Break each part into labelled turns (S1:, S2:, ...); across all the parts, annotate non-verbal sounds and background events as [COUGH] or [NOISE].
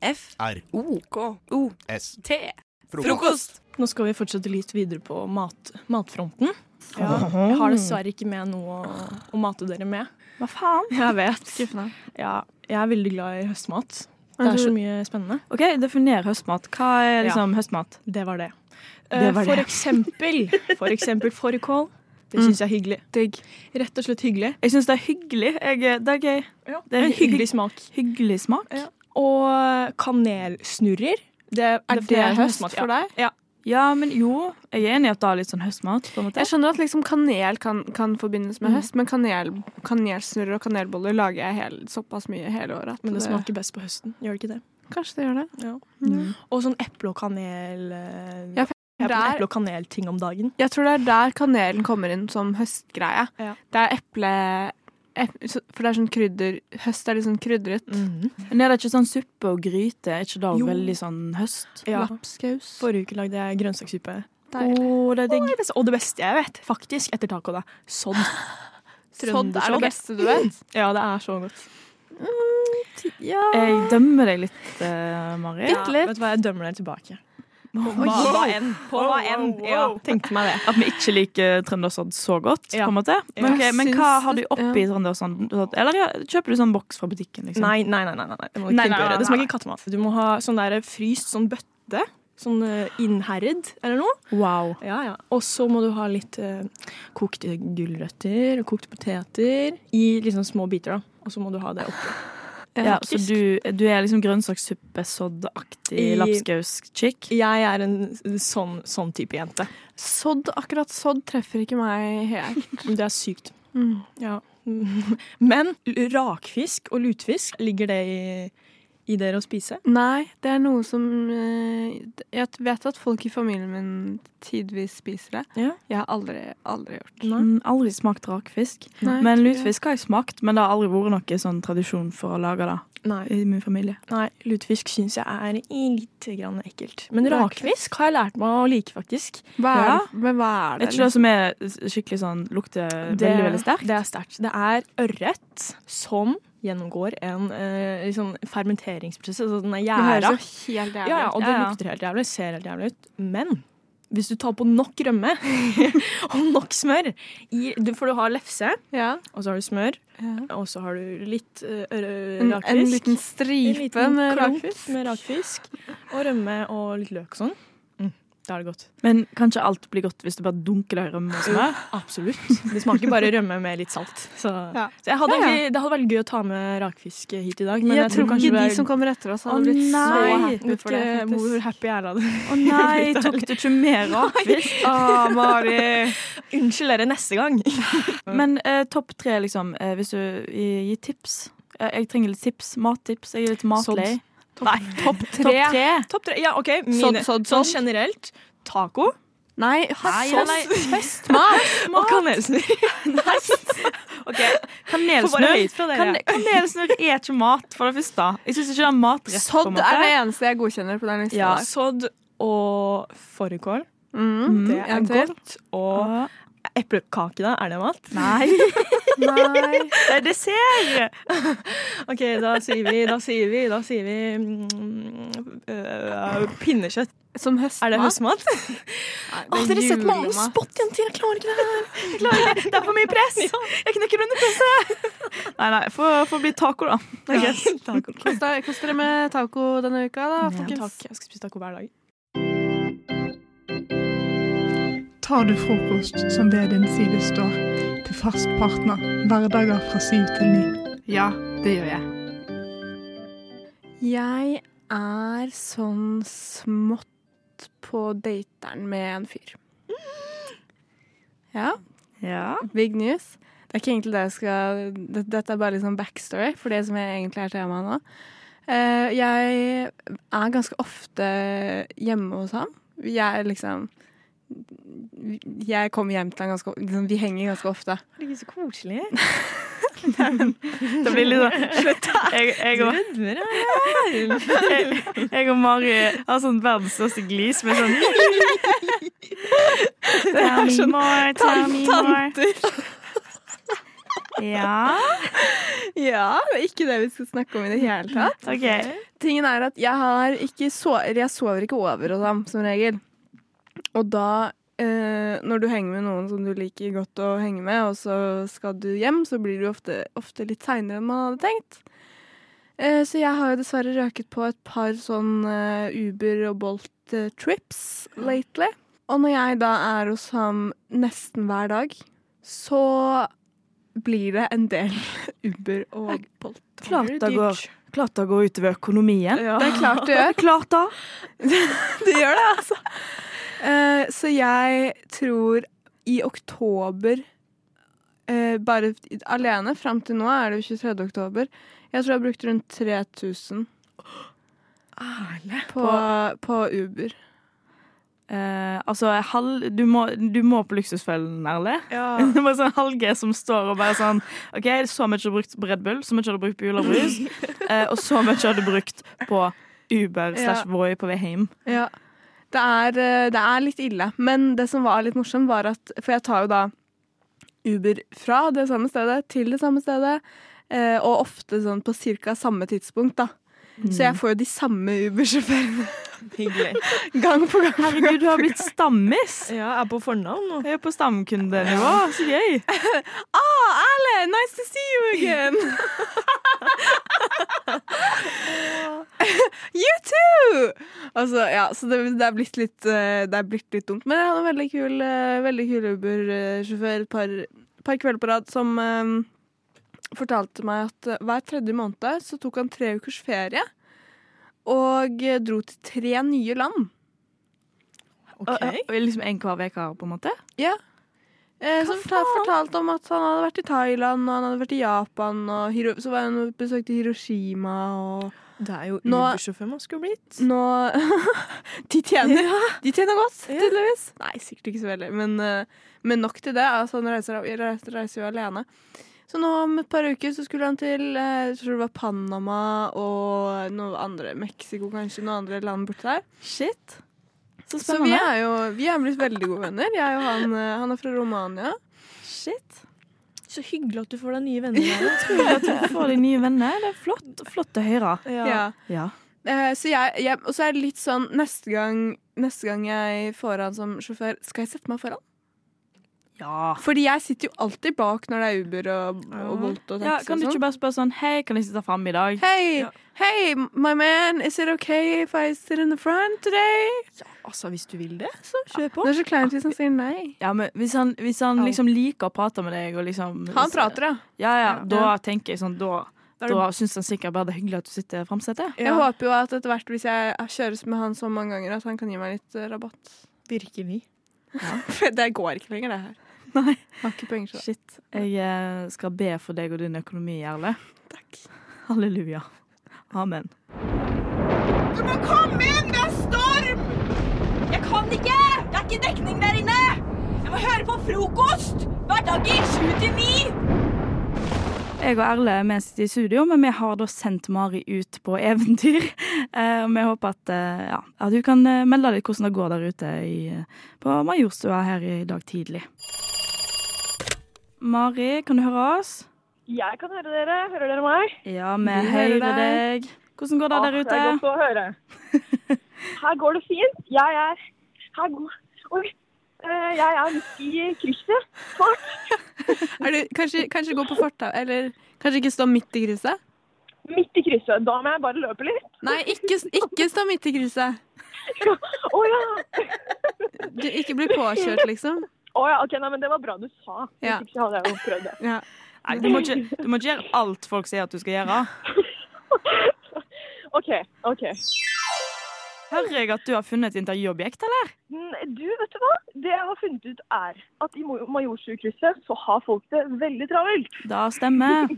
S1: F.
S2: R.
S1: O.
S3: K.
S1: O.
S2: S.
S1: T.
S3: Frokost.
S4: Nå skal vi fortsette litt videre på mat, matfronten. Jeg har dessverre ikke med noe å, å mate dere med.
S3: Mm. Hva faen?
S4: Jeg vet.
S3: Skuffende.
S4: Ja, jeg er veldig glad i høstmat. Det er så mye spennende.
S3: OK, definer høstmat. Hva er liksom høstmat?
S4: Det var det.
S3: Det
S4: Eh,
S3: var
S4: for
S3: det. Mm.
S4: eksempel,
S3: [LAUGHS]
S4: for eksempel fårikål. Det syns jeg er hyggelig.
S3: Digg.
S4: Rett og slett hyggelig.
S3: Jeg syns det er hyggelig. Jeg, det er gøy.
S4: Det er en hyggelig smak.
S3: Hyggelig smak.
S4: Ja. Og eh, kanelsnurrer. Det,
S3: Er det,
S4: definerer
S3: høstmat
S4: ja.
S3: for deg?
S4: Ja.
S3: Ja, men jo. Jeg er enig i at det er litt sånn høstmat. på en måte. Mm.
S5: Jeg skjønner at liksom kanel kan, kan forbindes med høst, men kanel, kanelsnurrer og kanelboller lager jeg hel, såpass mye hele året. at
S4: Men det smaker best på høsten, gjør det ikke det?
S5: Kanskje det gjør det.
S4: Og sånn eple og kanel eh,
S5: Ja, for
S4: Jeg er på
S5: der-
S4: eple og kanelting om dagen.
S5: Jeg tror det er der kanelen kommer inn som høstgreie.
S4: Ja.
S5: Det er eple... ep- så- For det er sånn krydder... Høst er litt sånn krydret.
S4: Mhm.
S3: Men er det ikke sånn suppe og gryte? Er ikke det
S4: Jo.
S3: også veldig sånn høst?
S4: Ja.
S5: Lapskaus.
S4: Forrige uke lagde jeg grønnsakssuppe.
S5: Deilig.
S4: Å, det er digg. Og det beste jeg vet, faktisk, etter taco, da.
S5: [LAUGHS]
S4: Sodd.
S5: Sodd er
S4: Trøndersodd.
S5: det beste du vet.
S3: [LAUGHS]
S5: Mm,
S4: Ja, det er så godt.
S3: Jeg dømmer deg litt, eh, Mari.
S4: Ja, Vet du hva, jeg dømmer deg tilbake. På hva, hva enn. På hva enn. Ja, tenkte meg det.
S3: At vi ikke liker trøndersodd så godt,
S4: Ja.
S3: på en måte. Men,
S4: Ja.
S3: ok, men
S5: Syns
S3: hva
S5: det-
S3: har du oppi
S5: sånn?
S3: trøndersodd? Eller ja, kjøper du sånn boks fra butikken, liksom?
S4: Nei, nei, nei. nei, nei. Det, må du
S3: Nei,
S4: ikke
S3: nei, nei,
S4: gjøre. det
S3: nei.
S4: smaker kattemat. Du må ha sånn der fryst sånn bøtte. Sånn eh, innherred eller noe.
S3: Wow.
S4: Ja, ja. Og så må du ha litt eh, kokte gulrøtter og kokte poteter i liksom små biter. da. Og så må du ha det oppi.
S3: Ja, så
S4: Faktisk.
S3: du, du er liksom grønnsakssuppe-sodd-aktig
S4: I-
S3: lapskaus-chick?
S4: Jeg er en sånn, sånn type jente.
S5: Sodd, akkurat sodd treffer ikke meg helt.
S4: Men Det er sykt. Ja. Men rakfisk og lutefisk, ligger det i, i dere å spise?
S5: Nei, det er noe som eh, Jeg vet at folk i familien min tidvis spiser det.
S4: Ja.
S5: Jeg har aldri, aldri gjort
S4: Nei.
S3: Mm, aldri smakt rakfisk.
S5: Nei, jeg
S3: Men
S5: tror
S3: lutefisk har jeg smakt, men det har aldri vært noe sånn tradisjon for å lage det
S4: Nei.
S3: i min familie.
S4: Nei, lutefisk syns jeg er litt grann ekkelt. Men
S5: Rakfisk?
S4: rakfisk har jeg lært meg å like, faktisk.
S5: det. Hva er
S3: Ja.
S5: det? Men hva er
S3: Er
S5: det?
S3: ikke det som er skikkelig sånn lukter veldig, veldig sterkt?
S4: Det er sterkt. Det er ørret som gjennomgår en eh, liksom fermenteringsprosess. Altså den er
S5: Det høres
S4: gjæra.
S5: jo helt jævlig
S4: Ja, ja,
S5: ut.
S4: og det
S3: Ja, ja.
S4: lukter helt jævlig, ser helt jævlig ut. Men hvis du tar på
S5: [LAUGHS]
S4: nok rømme og nok smør i, du- For du har lefse,
S5: Ja.
S4: og så har du smør,
S5: Ja.
S4: og så har du litt eh, ør-
S5: En,
S4: rakfisk.
S5: en liten
S4: En
S5: stripe
S4: liten
S5: med
S4: klump
S5: rakfisk.
S4: med rakfisk. Og rømme og litt løk og sånn. Mm, da er det godt.
S3: Men kan ikke alt bli godt hvis du bare dunker det i rømme og smør?
S4: [GASPS] Absolutt. Det smaker bare rømme med litt salt. Så,
S5: Ja.
S4: så jeg hadde
S5: Ja, ja.
S4: egentlig, det hadde vært gøy å ta med rakfisk hit i dag. Men
S5: jeg,
S4: jeg,
S5: tror
S4: kanskje
S5: ikke de
S4: det er-
S5: som kommer etter oss,
S3: Å,
S5: hadde blitt så
S3: nei.
S5: happy
S4: Vet
S5: for det.
S4: ikke
S5: faktisk.
S4: hvor happy jeg er av det.
S3: Å [LAUGHS] nei, tok du ikke mer rakfisk? Å, Mari.
S4: Unnskyld dere neste [LAUGHS] gang.
S3: Men eh, topp tre, liksom, eh, hvis du gir gir tips. Eh, Jeg trenger litt tips. Mattips. Jeg er litt matlei.
S4: Nei, topp
S3: Topp tre.
S4: Topp tre. Ja, OK.
S5: Sånn,
S4: Mine.
S5: sånn,
S4: Sånn
S5: sånn.
S4: generelt. Taco
S5: Nei,
S3: nei,
S5: sånn
S3: nei.
S5: festmat!
S4: og
S3: [LAUGHS]
S4: kanelsnurr. Får bare
S3: Kanelsnurr.
S4: høyt fra dere.
S3: Kan, kanelsnurr er ikke mat, for det første. Jeg syns ikke det Sånn er matrett. på en
S5: Sodd er
S3: måte.
S5: det eneste jeg godkjenner på den lista.
S4: Ja,
S5: der.
S4: sodd og fårikål.
S5: Mm.
S4: Det
S5: en
S4: er
S5: til.
S4: godt. Og eplekake, da. Er det mat?
S3: Nei,
S5: Nei.
S3: det er dessert!
S4: [LAUGHS] OK, da sier vi, da sier vi, da sier vi mm, øh, Pinnekjøtt.
S5: Som høstmat.
S4: Er det høstmat?
S5: Nei, det
S4: Å,
S5: er
S4: dere setter meg on
S5: julemat.
S4: spot, jenter! Jeg klarer ikke det her.
S3: Det er for mye
S5: [LAUGHS]
S3: press! Jeg knekker under presset! Nei, nei, får får bli taco, da. I guess.
S5: Kos deg- kos dere med taco denne uka, da, folkens.
S4: Jeg skal spise taco hver dag.
S6: Tar du frokost som ved din side står, til fast partner hverdager fra syv til ni. Ja, det gjør jeg.
S5: Jeg er sånn smått på dateren med en fyr. Ja,
S3: Ja.
S5: big news. Det er ikke egentlig det jeg skal det- Dette er bare liksom backstory for det som jeg egentlig er temaet nå. Eh, Jeg er ganske ofte hjemme hos ham. Jeg er liksom Jeg kommer hjem til ham ganske liksom, Vi henger ganske ofte.
S4: Det er
S5: [LAUGHS]
S4: så koselig.
S3: Det blir litt sånn Slutt. [LAUGHS] Jeg, jeg, og, jeg, jeg og Mari har sånn verdens største glis med sånn
S7: [LAUGHS]
S4: sånn [LAUGHS]
S3: Tell me more, tell me more.
S7: Ja,
S4: Ja, det er ikke det vi skal snakke om i det hele tatt.
S7: Mm, OK.
S4: Tingen er at jeg, har ikke so jeg sover ikke over hos ham, som regel. Og da, eh, når du henger med noen som du liker godt å henge med, og så skal du hjem, så blir du ofte, ofte litt seinere enn man hadde tenkt. Eh, så jeg har jo dessverre røket på et par sånn eh, Uber og Bolt-trips lately. Og når jeg da er hos ham nesten hver dag, så blir det en del [LAUGHS] Uber og Bolt.
S2: Klart det går, klart det går utover økonomien.
S4: Det er klart [LAUGHS] det gjør.
S2: Klart det.
S4: Det gjør det, altså. Eh, så jeg tror i oktober eh, Bare i- alene, fram til nå er det jo 23. oktober. Jeg tror jeg har brukt rundt 3000
S2: Ærlig.
S4: på, på Uber.
S2: Eh, altså, halv, du, må, du må på luksusfellen, ærlig.
S4: [LAUGHS]
S2: [LAUGHS] Det er bare sånn halv G som står og bare sånn OK, så mye har du brukt på Red Bull, så mye har du brukt på Jul og brus, eh, og så mye har du brukt på Uber slash Voi på vei hjem.
S4: Ja. Det er, eh, det er litt ille. Men det som var litt morsomt, var at For jeg tar jo da Uber fra det samme stedet til det samme stedet. eh, Og ofte sånn på ca. samme tidspunkt, da. Så
S2: Mm.
S4: jeg får jo de samme
S2: [LAUGHS]
S4: Uber-sjåførene
S3: Hyggelig.
S4: gang på gang. på gang.
S2: Herregud, du har blitt stammis!
S3: Ja, jeg er på fornavn nå.
S2: Jeg er på stamkundenivå. Så gøy.
S4: [LAUGHS] Ah, Ale! Nice to see you again!
S2: [LAUGHS]
S4: you too! Altså, ja, så det, det, er blitt litt, eh, det er blitt litt dumt. Men jeg hadde en veldig kul, eh, veldig kul Uber-sjåfør et par, par kvelder på rad som eh, fortalte meg at eh, hver tredje måned så tok han tre ukers ferie. Og eh, dro til tre nye land.
S2: Og, og liksom en hver uke, på en måte.
S4: Eh, som fortal, fortalte om at han hadde vært i Thailand og han hadde vært i Japan. Og Hiro, så var han og besøkte Hiroshima og
S3: Det er jo
S4: Nå-
S3: Uber-sjåfør man skulle blitt.
S4: Nå [LAUGHS] De tjener De tjener godt, tydeligvis. Nei, sikkert ikke så veldig, men, eh, men nok til det. Altså, han reiser, reiser, reiser jo alene. Så nå om et par uker så skulle han til eh, jeg tror det var Panama og noe andre Mexico, kanskje. Noen andre land borti der.
S2: Shit. Så
S4: Så vi
S2: spennende.
S4: er jo vi er blitt veldig gode venner. Jeg og han, eh, han er fra Romania.
S2: Shit.
S3: Så hyggelig at du får deg nye venner.
S2: [LAUGHS]
S3: Ellen.
S2: Hyggelig at du får deg nye venner. Det er flott, flott å høre.
S4: Ja.
S2: Ja.
S4: Eh, så jeg, jeg, og så er det litt sånn neste gang, neste gang jeg får han som sjåfør, skal jeg sette meg foran?
S2: ja.
S4: Fordi jeg sitter jo alltid bak når det er Uber og, og Bolt og taxi
S2: Ja, kan du
S4: og
S2: ikke
S4: sånn.
S2: bare spørre sånn Hei, kan jeg sitte fram i dag?
S4: Hei, hey, my man, is it okay if I sit in the front today?
S3: Altså, hvis du vil det, så kjør på.
S4: Det er så kleint hvis han sier nei.
S2: Ja, men Hvis han, hvis han liksom liker å prate med deg og liksom
S4: Han prater, ja.
S2: Ja, ja, da tenker jeg sånn Da,
S3: er det-
S2: da syns han sikkert bare det er hyggelig at du sitter framsetet.
S4: Jeg
S2: [LAUGHS]
S4: håper jo at etter hvert, hvis jeg kjøres med han så mange ganger, at han kan gi meg litt eh, rabatt.
S3: Virkelig.
S4: [LAUGHS] For det går ikke lenger, det her. Nei. Har ikke penger til det.
S2: Shit. Jeg eh, skal be for deg og din økonomi, Jarle.
S4: Takk.
S2: Halleluja. Amen.
S8: Du må komme inn! Det er storm! Jeg kan ikke! Det er ikke dekning der inne! Jeg må høre på frokost! Hverdager sju til ni!
S2: Jeg og Erle vi sitter i studio, men vi har da sendt Mari ut på eventyr. [LAUGHS] Eh, Og vi håper at, eh, ja, at du kan eh, melde litt hvordan det går der ute i, eh, på Majorstua her i dag tidlig. Mari, kan du høre oss?
S9: Jeg kan høre dere. Hører dere meg?
S2: Ja, vi
S4: hører
S2: hører deg. Hvordan går det
S5: Ah,
S2: der
S9: Det er
S2: ute?
S9: godt å høre. Her går det fint. Jeg er Her går Oi. Eh, Jeg er midt i krysset. Svart.
S4: [LAUGHS] Er du, kanskje, kanskje gå på fortau, eller kanskje ikke stå midt i krysset?
S9: Midt i krysset. Da må jeg bare løpe litt.
S4: Nei, ikke, ikke stå midt i krysset.
S9: Å ja.
S4: Du, ikke bli påkjørt, liksom.
S9: Å ja. Ok, nei, men det var bra du sa.
S4: Ja.
S9: Hvis ikke hadde jeg jo prøvd det.
S4: Ja.
S2: Nei, du, må ikke, du må ikke gjøre alt folk sier at du skal gjøre.
S9: [LAUGHS] OK. ok.
S2: Hører jeg at du har funnet et intervjuobjekt, eller?
S9: Mm, Du, vet du hva? Det jeg har funnet ut, er at i Mo- Majorstukrysset så har folk det veldig travelt. [LAUGHS]
S2: Da stemmer.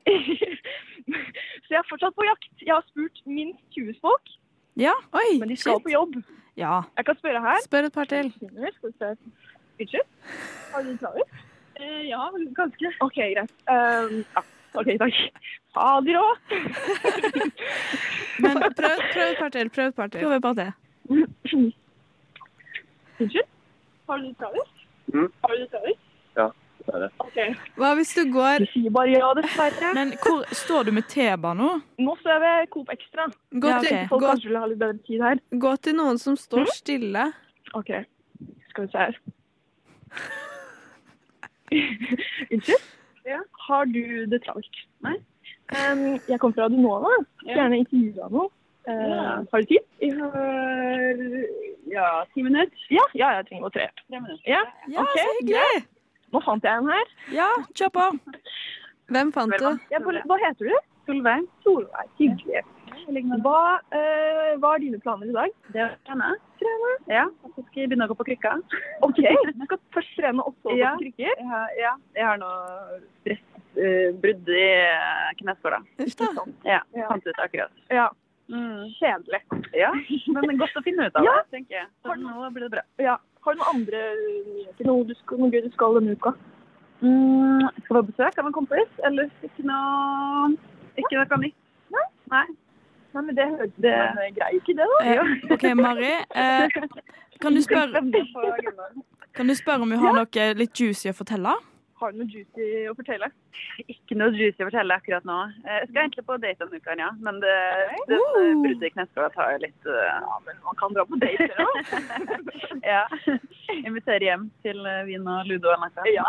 S9: så jeg er fortsatt på jakt. Jeg har spurt minst 20 folk,
S2: Ja. Oi,
S9: men de skal på jobb.
S2: Ja.
S9: Jeg kan spørre her.
S4: Spør et par til.
S9: Unnskyld? Har du planer? Eh, ja, ganske. OK, greit. Ehm, ja. OK, takk. Ha det råd.
S4: [LAUGHS] Men prøv, prøv et par til. Prøv et par til.
S2: Prøv bare det.
S4: [CLEARS THROAT]
S9: Unnskyld? Har du planer?
S10: Mm.
S9: Har du planer?
S10: Ja,
S11: dessverre.
S12: Hva hvis du går,
S4: De sier bare ja, dessverre.
S8: Men hvor står du med T-banen nå?
S4: Nå står jeg ved Coop Extra.
S12: gå,
S8: Ja,
S12: til,
S8: ok.
S4: Folk
S12: gå,
S4: kanskje vil ha litt bedre tid her. Mm.
S12: gå til noen som står stille?
S4: OK, skal vi se her. [LAUGHS] Unnskyld? Har du det travelt? Nei. Em, jeg kommer fra Adunova. Skulle gjerne intervjue deg om noe. Eh, Har du tid? Jeg har ja, ti minutter. Ja, ja, jeg trenger bare tre. Ja,
S8: Ja,
S4: ok,
S8: så hyggelig!
S4: Nå fant jeg en her.
S8: Ja, kjør på.
S12: Hvem fant du?
S4: Ja, hva, hva heter du? Solveig. Solveig, Hyggelig. Hva, eh, hva er dine planer i dag? Det er å trene. Trene? Ja, og så skal jeg begynne å gå på krykker. Ok, [LAUGHS] du skal først trene og så gå på krykker? Ja, jeg har noe stressbrudd i eh, kneskåla. Sånn. Ja, fant ut akkurat. Ja. Kjedelig. Ja, men godt å [LAUGHS] finne Mm. ut av det, tenker jeg. Så nå blir det bra. Ja. Har du noen andre nyheter? Noe, du skal, noe gøy du skal denne uka? Mm, jeg skal på besøk av en kompis, eller ikke noe Ikke noe nytt. Nei. Nei. men det høres det... Men greier ikke det, da.
S8: Eh,
S4: [LAUGHS]
S8: OK, Mari. Eh, kan, du spørre, kan du spørre om vi har noe litt juicy å fortelle?
S4: Har du noe juicy å fortelle?
S11: Ikke noe juicy å fortelle akkurat nå. Eh, Jeg skal egentlig på date denne uka, ja. Men det, det eh, bruddet i kneskåla tar jo litt eh, Ja, men man kan dra på date òg. [LAUGHS] ja. Invitere hjem til eh, vin og ludo og natta.
S4: Ja.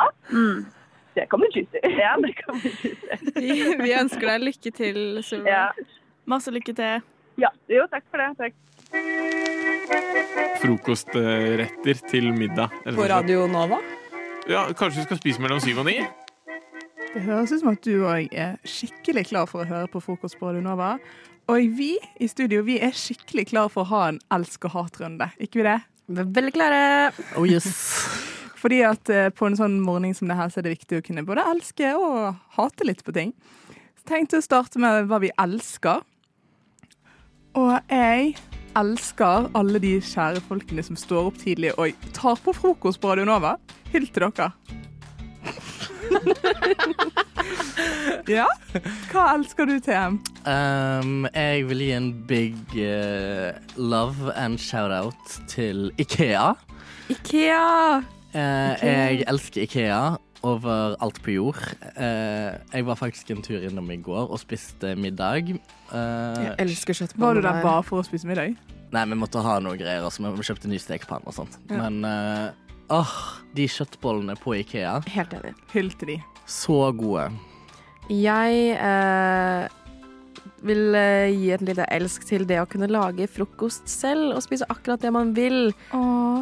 S4: Det kan bli juicy.
S11: ja, det kan vi juicy.
S12: Vi, vi ønsker deg lykke til, Solveig.
S11: Ja.
S8: Masse lykke til.
S11: ja. Jo, takk for det. Takk.
S13: Frokostretter til middag. rett og
S14: På
S13: slett.
S14: Radio Nova.
S13: Ja, Kanskje vi skal spise mellom syv og ni?
S6: Det høres ut som at du òg er skikkelig klar for å høre på Frokost på Radio Nova. Og vi i studio vi er skikkelig klar for å ha en elsk og hat-runde. Ikke vi det?
S14: Vi er veldig klare. Oh yes.
S6: [LAUGHS] Fordi at eh, på en sånn morgen som det her, så er det viktig å kunne både elske og hate litt på ting. Så tenkte jeg å starte med hva vi elsker. Og jeg elsker alle de kjære folkene som står opp tidlig og tar på frokost på Radio Nova. Hyll til dere. ja, hva elsker du, TM?
S14: Um, jeg vil gi en big eh, love and shout-out til Ikea.
S12: Ikea!
S14: Eh, Jeg elsker Ikea over alt på jord. Eh, jeg var faktisk en tur innom i går og spiste middag. Eh,
S7: Jeg elsker kjøttboller.
S6: Var du der bare for å spise middag?
S14: Nei, vi måtte ha noe greier, altså. Vi kjøpte ny stekepanne og sånt. Men eh, åh, de kjøttbollene på Ikea,
S7: Helt enig.
S6: Hyll til de.
S14: så gode.
S7: Jeg eh, vil eh, gi et lite elsk til det å kunne lage frokost selv og spise akkurat det man vil.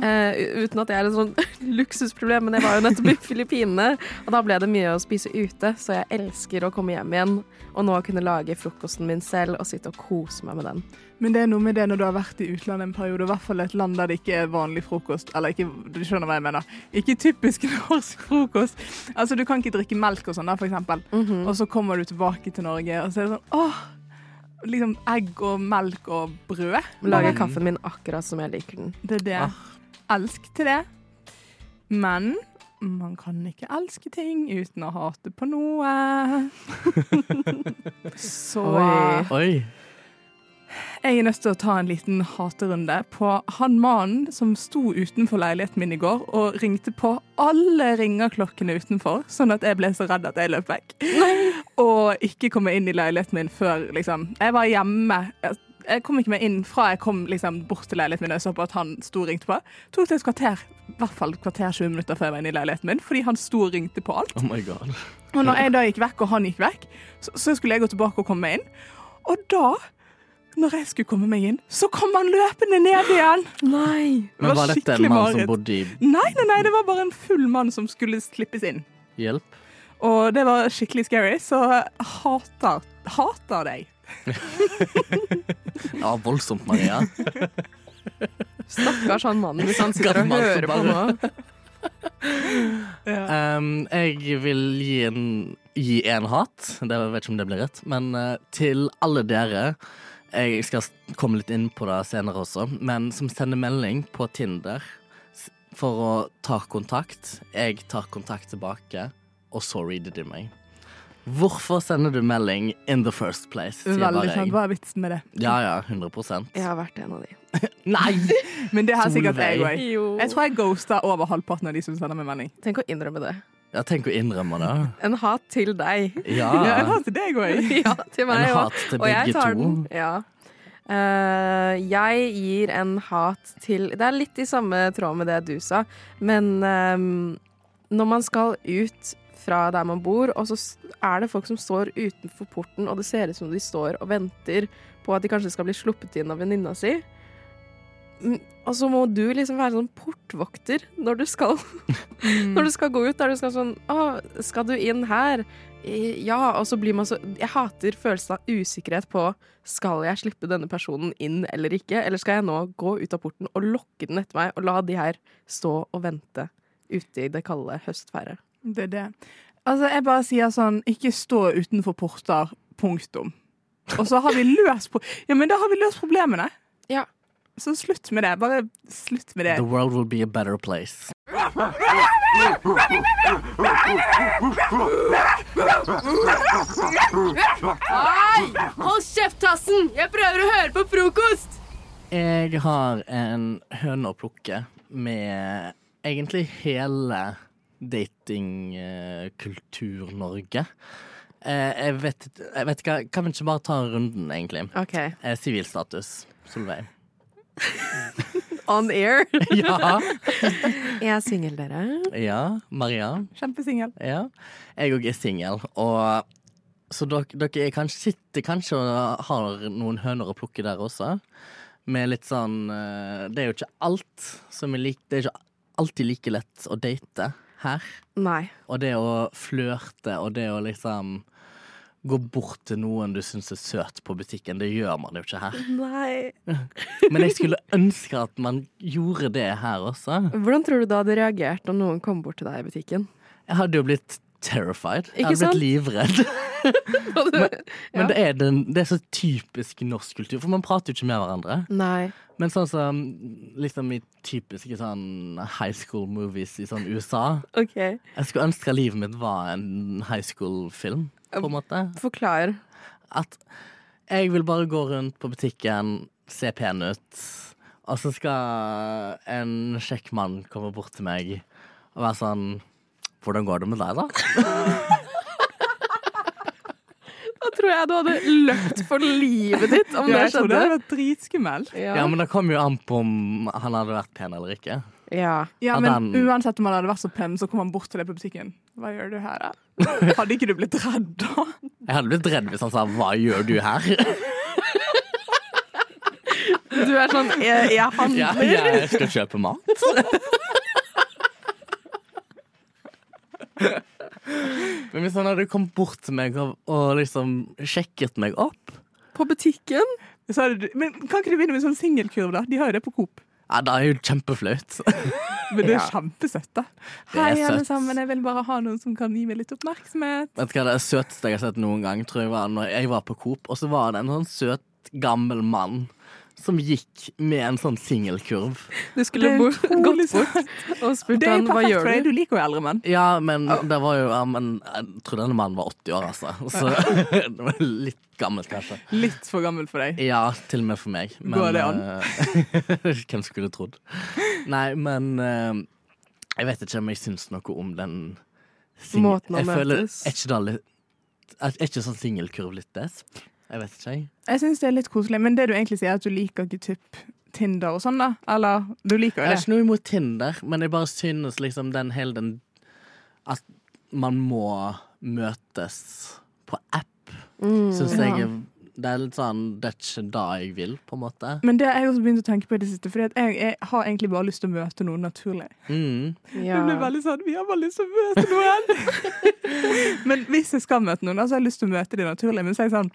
S7: Eh, u- uten at jeg er et sånn [LAUGHS] luksusproblem, men jeg var jo nettopp i Filippinene. Og da ble det mye å spise ute, så jeg elsker å komme hjem igjen og nå kunne lage frokosten min selv og sitte og kose meg med den.
S6: Men det er noe med det når du har vært i utlandet en periode, og i hvert fall et land der det ikke er vanlig frokost. Eller ikke, du skjønner hva jeg mener. Ikke typisk [LAUGHS] norsk frokost. Altså, du kan ikke drikke melk og sånn, da, for eksempel.
S7: Mhm.
S6: Og så kommer du tilbake til Norge, og så er det sånn åh! Liksom egg og melk og brød.
S7: Lage kaffen min akkurat som jeg liker den. Ah.
S6: Det er det. Elsk til det. Men man kan ikke elske ting uten å hate på noe. [LAUGHS] så
S7: Oi.
S14: Oi.
S6: Jeg er nødt til å ta en liten haterunde på han mannen som sto utenfor leiligheten min i går og ringte på alle ringeklokkene utenfor, sånn at jeg ble så redd at jeg løp vekk. Og ikke komme inn i leiligheten min før liksom Jeg var hjemme. Jeg- Jeg kom ikke meg inn fra jeg kom liksom bort til leiligheten min og jeg så på at han sto og ringte på. Tok det et kvarter, i hvert fall et kvarter 20 minutter før jeg var inne i leiligheten min, fordi han sto og ringte på alt.
S14: Oh my god.
S6: Og når jeg da gikk vekk, og han gikk vekk, så, så skulle jeg gå tilbake og komme meg inn. Og da, når jeg skulle komme meg inn, så kom han løpende ned igjen!
S7: Nei!
S14: Men var dette en
S6: skikkelig
S14: mann
S6: mareritt.
S14: som bodde i
S6: Nei, nei, nei, det var bare en full mann som skulle slippes inn.
S14: hjelp?
S6: Og det var skikkelig scary, så jeg hater, hater deg.
S14: Ja, voldsomt, Maria.
S7: [LAUGHS] Stakkars han mannen hvis han sitter og
S14: Gammel
S7: hører på nå.
S14: [LAUGHS] forbanna. Um, jeg vil gi en, gi en hat. Det, jeg vet ikke om det blir rett. Men eh, til alle dere. Jeg skal s- komme litt inn på det senere også. Men som sender melding på Tinder s- for å ta kontakt. Jeg tar kontakt tilbake, og så reader de meg. Hvorfor sender du melding in the first place? sier bare
S6: Veldig
S14: jeg.
S6: sant. Hva er vitsen med det?
S14: Ja, ja, 100
S7: Jeg har vært en av de.
S14: Nei!
S6: Men det har sikkert jeg
S14: Solveig.
S6: òg. Jeg tror jeg ghoster over halvparten av de som sender meg melding.
S7: Tenk å innrømme det.
S14: Ja, tenk å innrømme det.
S7: En hat til deg. [LAUGHS]
S14: Ja.
S6: Ja, jeg har til deg òg.
S7: ja, til meg
S14: En
S7: og-
S14: hat til
S7: og jeg
S14: begge
S7: tar
S14: to.
S7: den. Ja. Eh, jeg gir en hat til Det er litt i samme tråd med det du sa, men ehm, når man skal ut fra der man bor, og så s- er det folk som står utenfor porten, og det ser ut som de står og venter på at de kanskje skal bli sluppet inn av venninna si. Mm, Og så må du liksom være sånn portvokter når du skal [LAUGHS]
S6: Mm.
S7: Når du skal gå ut. Der du skal sånn Å, skal du inn her? Ja, og så blir man så Jeg hater følelsen av usikkerhet på Skal jeg slippe denne personen inn eller ikke? Eller skal jeg nå gå ut av porten og lokke den etter meg og la de her stå og vente ute i det kalde høstværet?
S6: Det er det. Altså, jeg bare sier sånn Ikke stå utenfor porter. Punktum. Og så har vi løst pro Ja, men da har vi løst problemene.
S7: Ja.
S6: Så slutt med det. Bare slutt med det.
S14: The world will be a better place.
S8: Hold kjeft, Tassen! Jeg prøver å høre på frokost!
S14: Jeg har en høne å plukke med egentlig hele datingkultur-Norge. Eh, Jeg vet, jeg vet ikke, kan vi ikke bare ta runden, egentlig?
S7: OK.
S14: Eh, Sivilstatus,
S7: [LAUGHS]
S14: Solveig.
S7: On air. [LAUGHS]
S14: Ja.
S7: Jeg er singel, dere.
S14: ja. Maria.
S6: Kjempesingel.
S14: Ja. Jeg òg er singel, og så dere, dere er kanskje, sitter kanskje og har noen høner å plukke der også. Med litt sånn eh, Det er jo ikke alt som er likt Det er ikke alltid like lett å date her.
S7: Nei.
S14: Og det å flørte og det å liksom gå bort til noen du syns er søt på butikken, det gjør man jo ikke her.
S7: Nei.
S14: Men jeg
S7: [LAUGHS]
S14: skulle ønske at man gjorde det her også.
S7: Hvordan tror du da hadde reagert om noen kom bort til deg i butikken?
S14: Jeg hadde jo blitt terrified. Jeg
S7: Ikke
S14: hadde
S7: sant?
S14: blitt livredd. Men
S7: Ja.
S14: det, er den, det er så typisk norsk kultur, for man prater jo ikke med hverandre.
S7: Nei.
S14: Men sånn som liksom i typiske sånn high school movies i sånn USA
S7: OK.
S14: Jeg skulle ønske livet mitt var en high school-film, på en måte.
S7: Forklar.
S14: At jeg vil bare gå rundt på butikken, se pen ut, og så skal en kjekk mann komme bort til meg og være sånn Hvordan går det med deg, da?
S7: Da tror jeg du hadde løpt for livet ditt om det
S6: [LAUGHS] Ja, jeg tror det
S7: skjedde.
S6: hadde vært dritskummelt.
S14: Ja, men det kom jo an på om han hadde vært pen eller ikke.
S7: ja.
S6: Ja,
S14: At
S6: men
S14: han-
S6: uansett om han hadde vært så pen, så kom han bort til deg på butikken. Hva gjør du her, da? Hadde ikke du blitt redd da?
S14: Jeg hadde blitt redd hvis han sa 'hva gjør du
S6: [LAUGHS]
S14: her'?
S7: Du er sånn Jeg, jeg handler.
S14: Ja, jeg skal kjøpe mat. Men hvis han hadde kommet bort til meg og, og liksom sjekket meg opp,
S7: På butikken.
S6: Så hadde du, men kan ikke du begynne med sånn singelkurv, da? De har jo det på Coop.
S14: ja, da er jo kjempeflaut.
S6: [LAUGHS] Men det er
S7: Ja.
S6: kjempesøtt, da.
S14: Det er
S6: Hei, alle
S14: søtt.
S6: sammen, jeg vil bare ha noen som kan gi meg litt oppmerksomhet.
S14: Vet du hva det søteste jeg har sett noen gang, tror jeg var når jeg var på Coop, og så var det en sånn søt, gammel mann som gikk med en sånn singelkurv.
S7: Du skulle bort, gått bort og spurt
S6: Det er
S7: han
S6: jo
S7: hva
S6: perfekt
S7: gjør
S6: for deg,
S7: du?
S6: du liker jo eldre menn.
S14: Ja, men det var jo ja, men, Jeg tror denne mannen var 80 år,
S6: [LAUGHS]
S14: altså. Så [LAUGHS] det var litt gammelt, kanskje.
S6: Litt for gammel for deg.
S14: Ja, til og med for meg.
S6: Går det an?
S14: eh, [LAUGHS] hvem skulle trodd? Nei, men eh, jeg vet ikke om jeg syns noe om den sing-
S7: Måten han
S14: Jeg føler-
S7: møtes.
S14: Er ikke, da litt, er er ikke sånn singelkurv litt desp? Jeg vet ikke, jeg.
S6: Jeg syns det er litt koselig, men det du egentlig sier, er at du liker ikke typ Tinder og sånn, da? Eller du liker
S14: Jeg
S6: jo
S14: har
S6: det?
S14: ikke noe imot Tinder, men jeg bare synes liksom den hele den At man må møtes på app,
S7: Mm.
S6: Mm.
S14: syns jeg er Det er litt sånn Det er ikke da jeg vil, på en måte.
S6: Men det har jeg også begynt å tenke på i det siste, for jeg, jeg har egentlig bare lyst til å møte noen naturlig.
S14: Mm.
S6: Det blir veldig sånn Vi har bare lyst til å møte noen! [LAUGHS] men hvis jeg skal møte noen, da, så har jeg lyst til å møte de naturlig. Men så er jeg sånn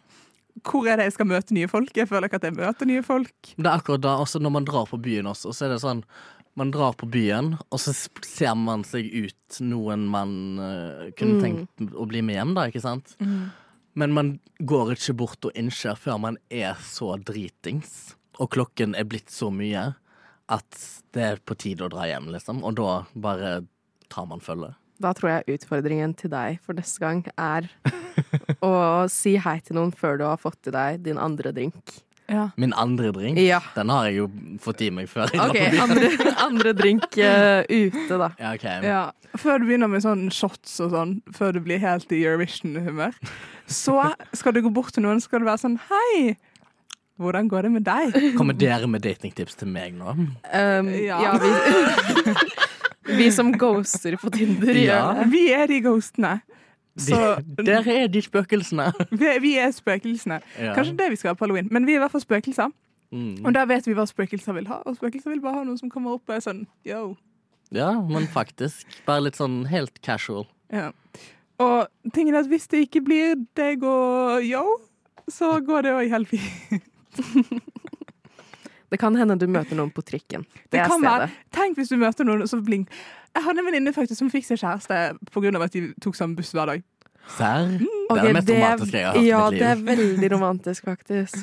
S6: Hvor er det jeg skal møte nye folk? Jeg føler ikke at jeg møter nye folk.
S14: Det er akkurat da, også når man drar på byen også, så er det sånn man drar på byen, og så sp- ser man seg ut noen man eh,
S6: Mm.
S14: kunne tenkt å bli med hjem, da, ikke sant? Men man går ikke bort og innser før man er så dritings, og klokken er blitt så mye at det er på tide å dra hjem, liksom. Og da bare tar man følge.
S7: Da tror jeg utfordringen til deg for neste [LAUGHS] gang er å si hei til noen før du har fått i deg din andre drink.
S6: Ja.
S14: Min andre drink.
S7: Ja.
S14: Den har jeg jo fått i meg før. jeg drar
S7: OK,
S14: på byen.
S7: andre,
S6: [LAUGHS]
S7: andre drink eh, ute, da.
S14: Ja, ok.
S6: Ja. Før du begynner med sånn shots og sånn, før du blir helt i Eurovision-humør, så skal du gå bort til noen skal du være sånn Hei, hvordan går det med deg?
S14: Kommer dere med datingtips til meg nå?
S7: Um,
S6: Ja.
S7: ja. vi, vi [LAUGHS] som ghoster på Tinder, gjør det.
S6: Vi er de ghostene.
S14: De,
S6: Så-
S14: dere er de spøkelsene.
S6: [LAUGHS] Vi er, vi er spøkelsene.
S14: Ja.
S6: Kanskje det vi skal ha på halloween, men vi er i hvert fall spøkelser.
S14: Mm.
S6: Og da vet vi hva spøkelser vil ha, og spøkelser vil bare ha noen som kommer opp og er sånn yo.
S14: Ja, men faktisk. Bare litt sånn helt casual.
S6: Ja. Og tingen er at hvis det ikke blir deg og yo, så går det òg helt fint.
S7: Det kan hende du møter noen på trikken.
S6: Det
S7: er
S6: kan være.
S7: stedet.
S6: Tenk hvis du møter noen som blink. Jeg hadde en venninne faktisk som fikk seg kjæreste pga. at de tok samme buss hver dag. Mm.
S14: Serr?
S7: Ok,
S14: det er det mest romantiske jeg har hørt
S7: ja,
S14: i mitt
S7: det
S14: liv.
S7: er [LAUGHS] veldig romantisk, faktisk.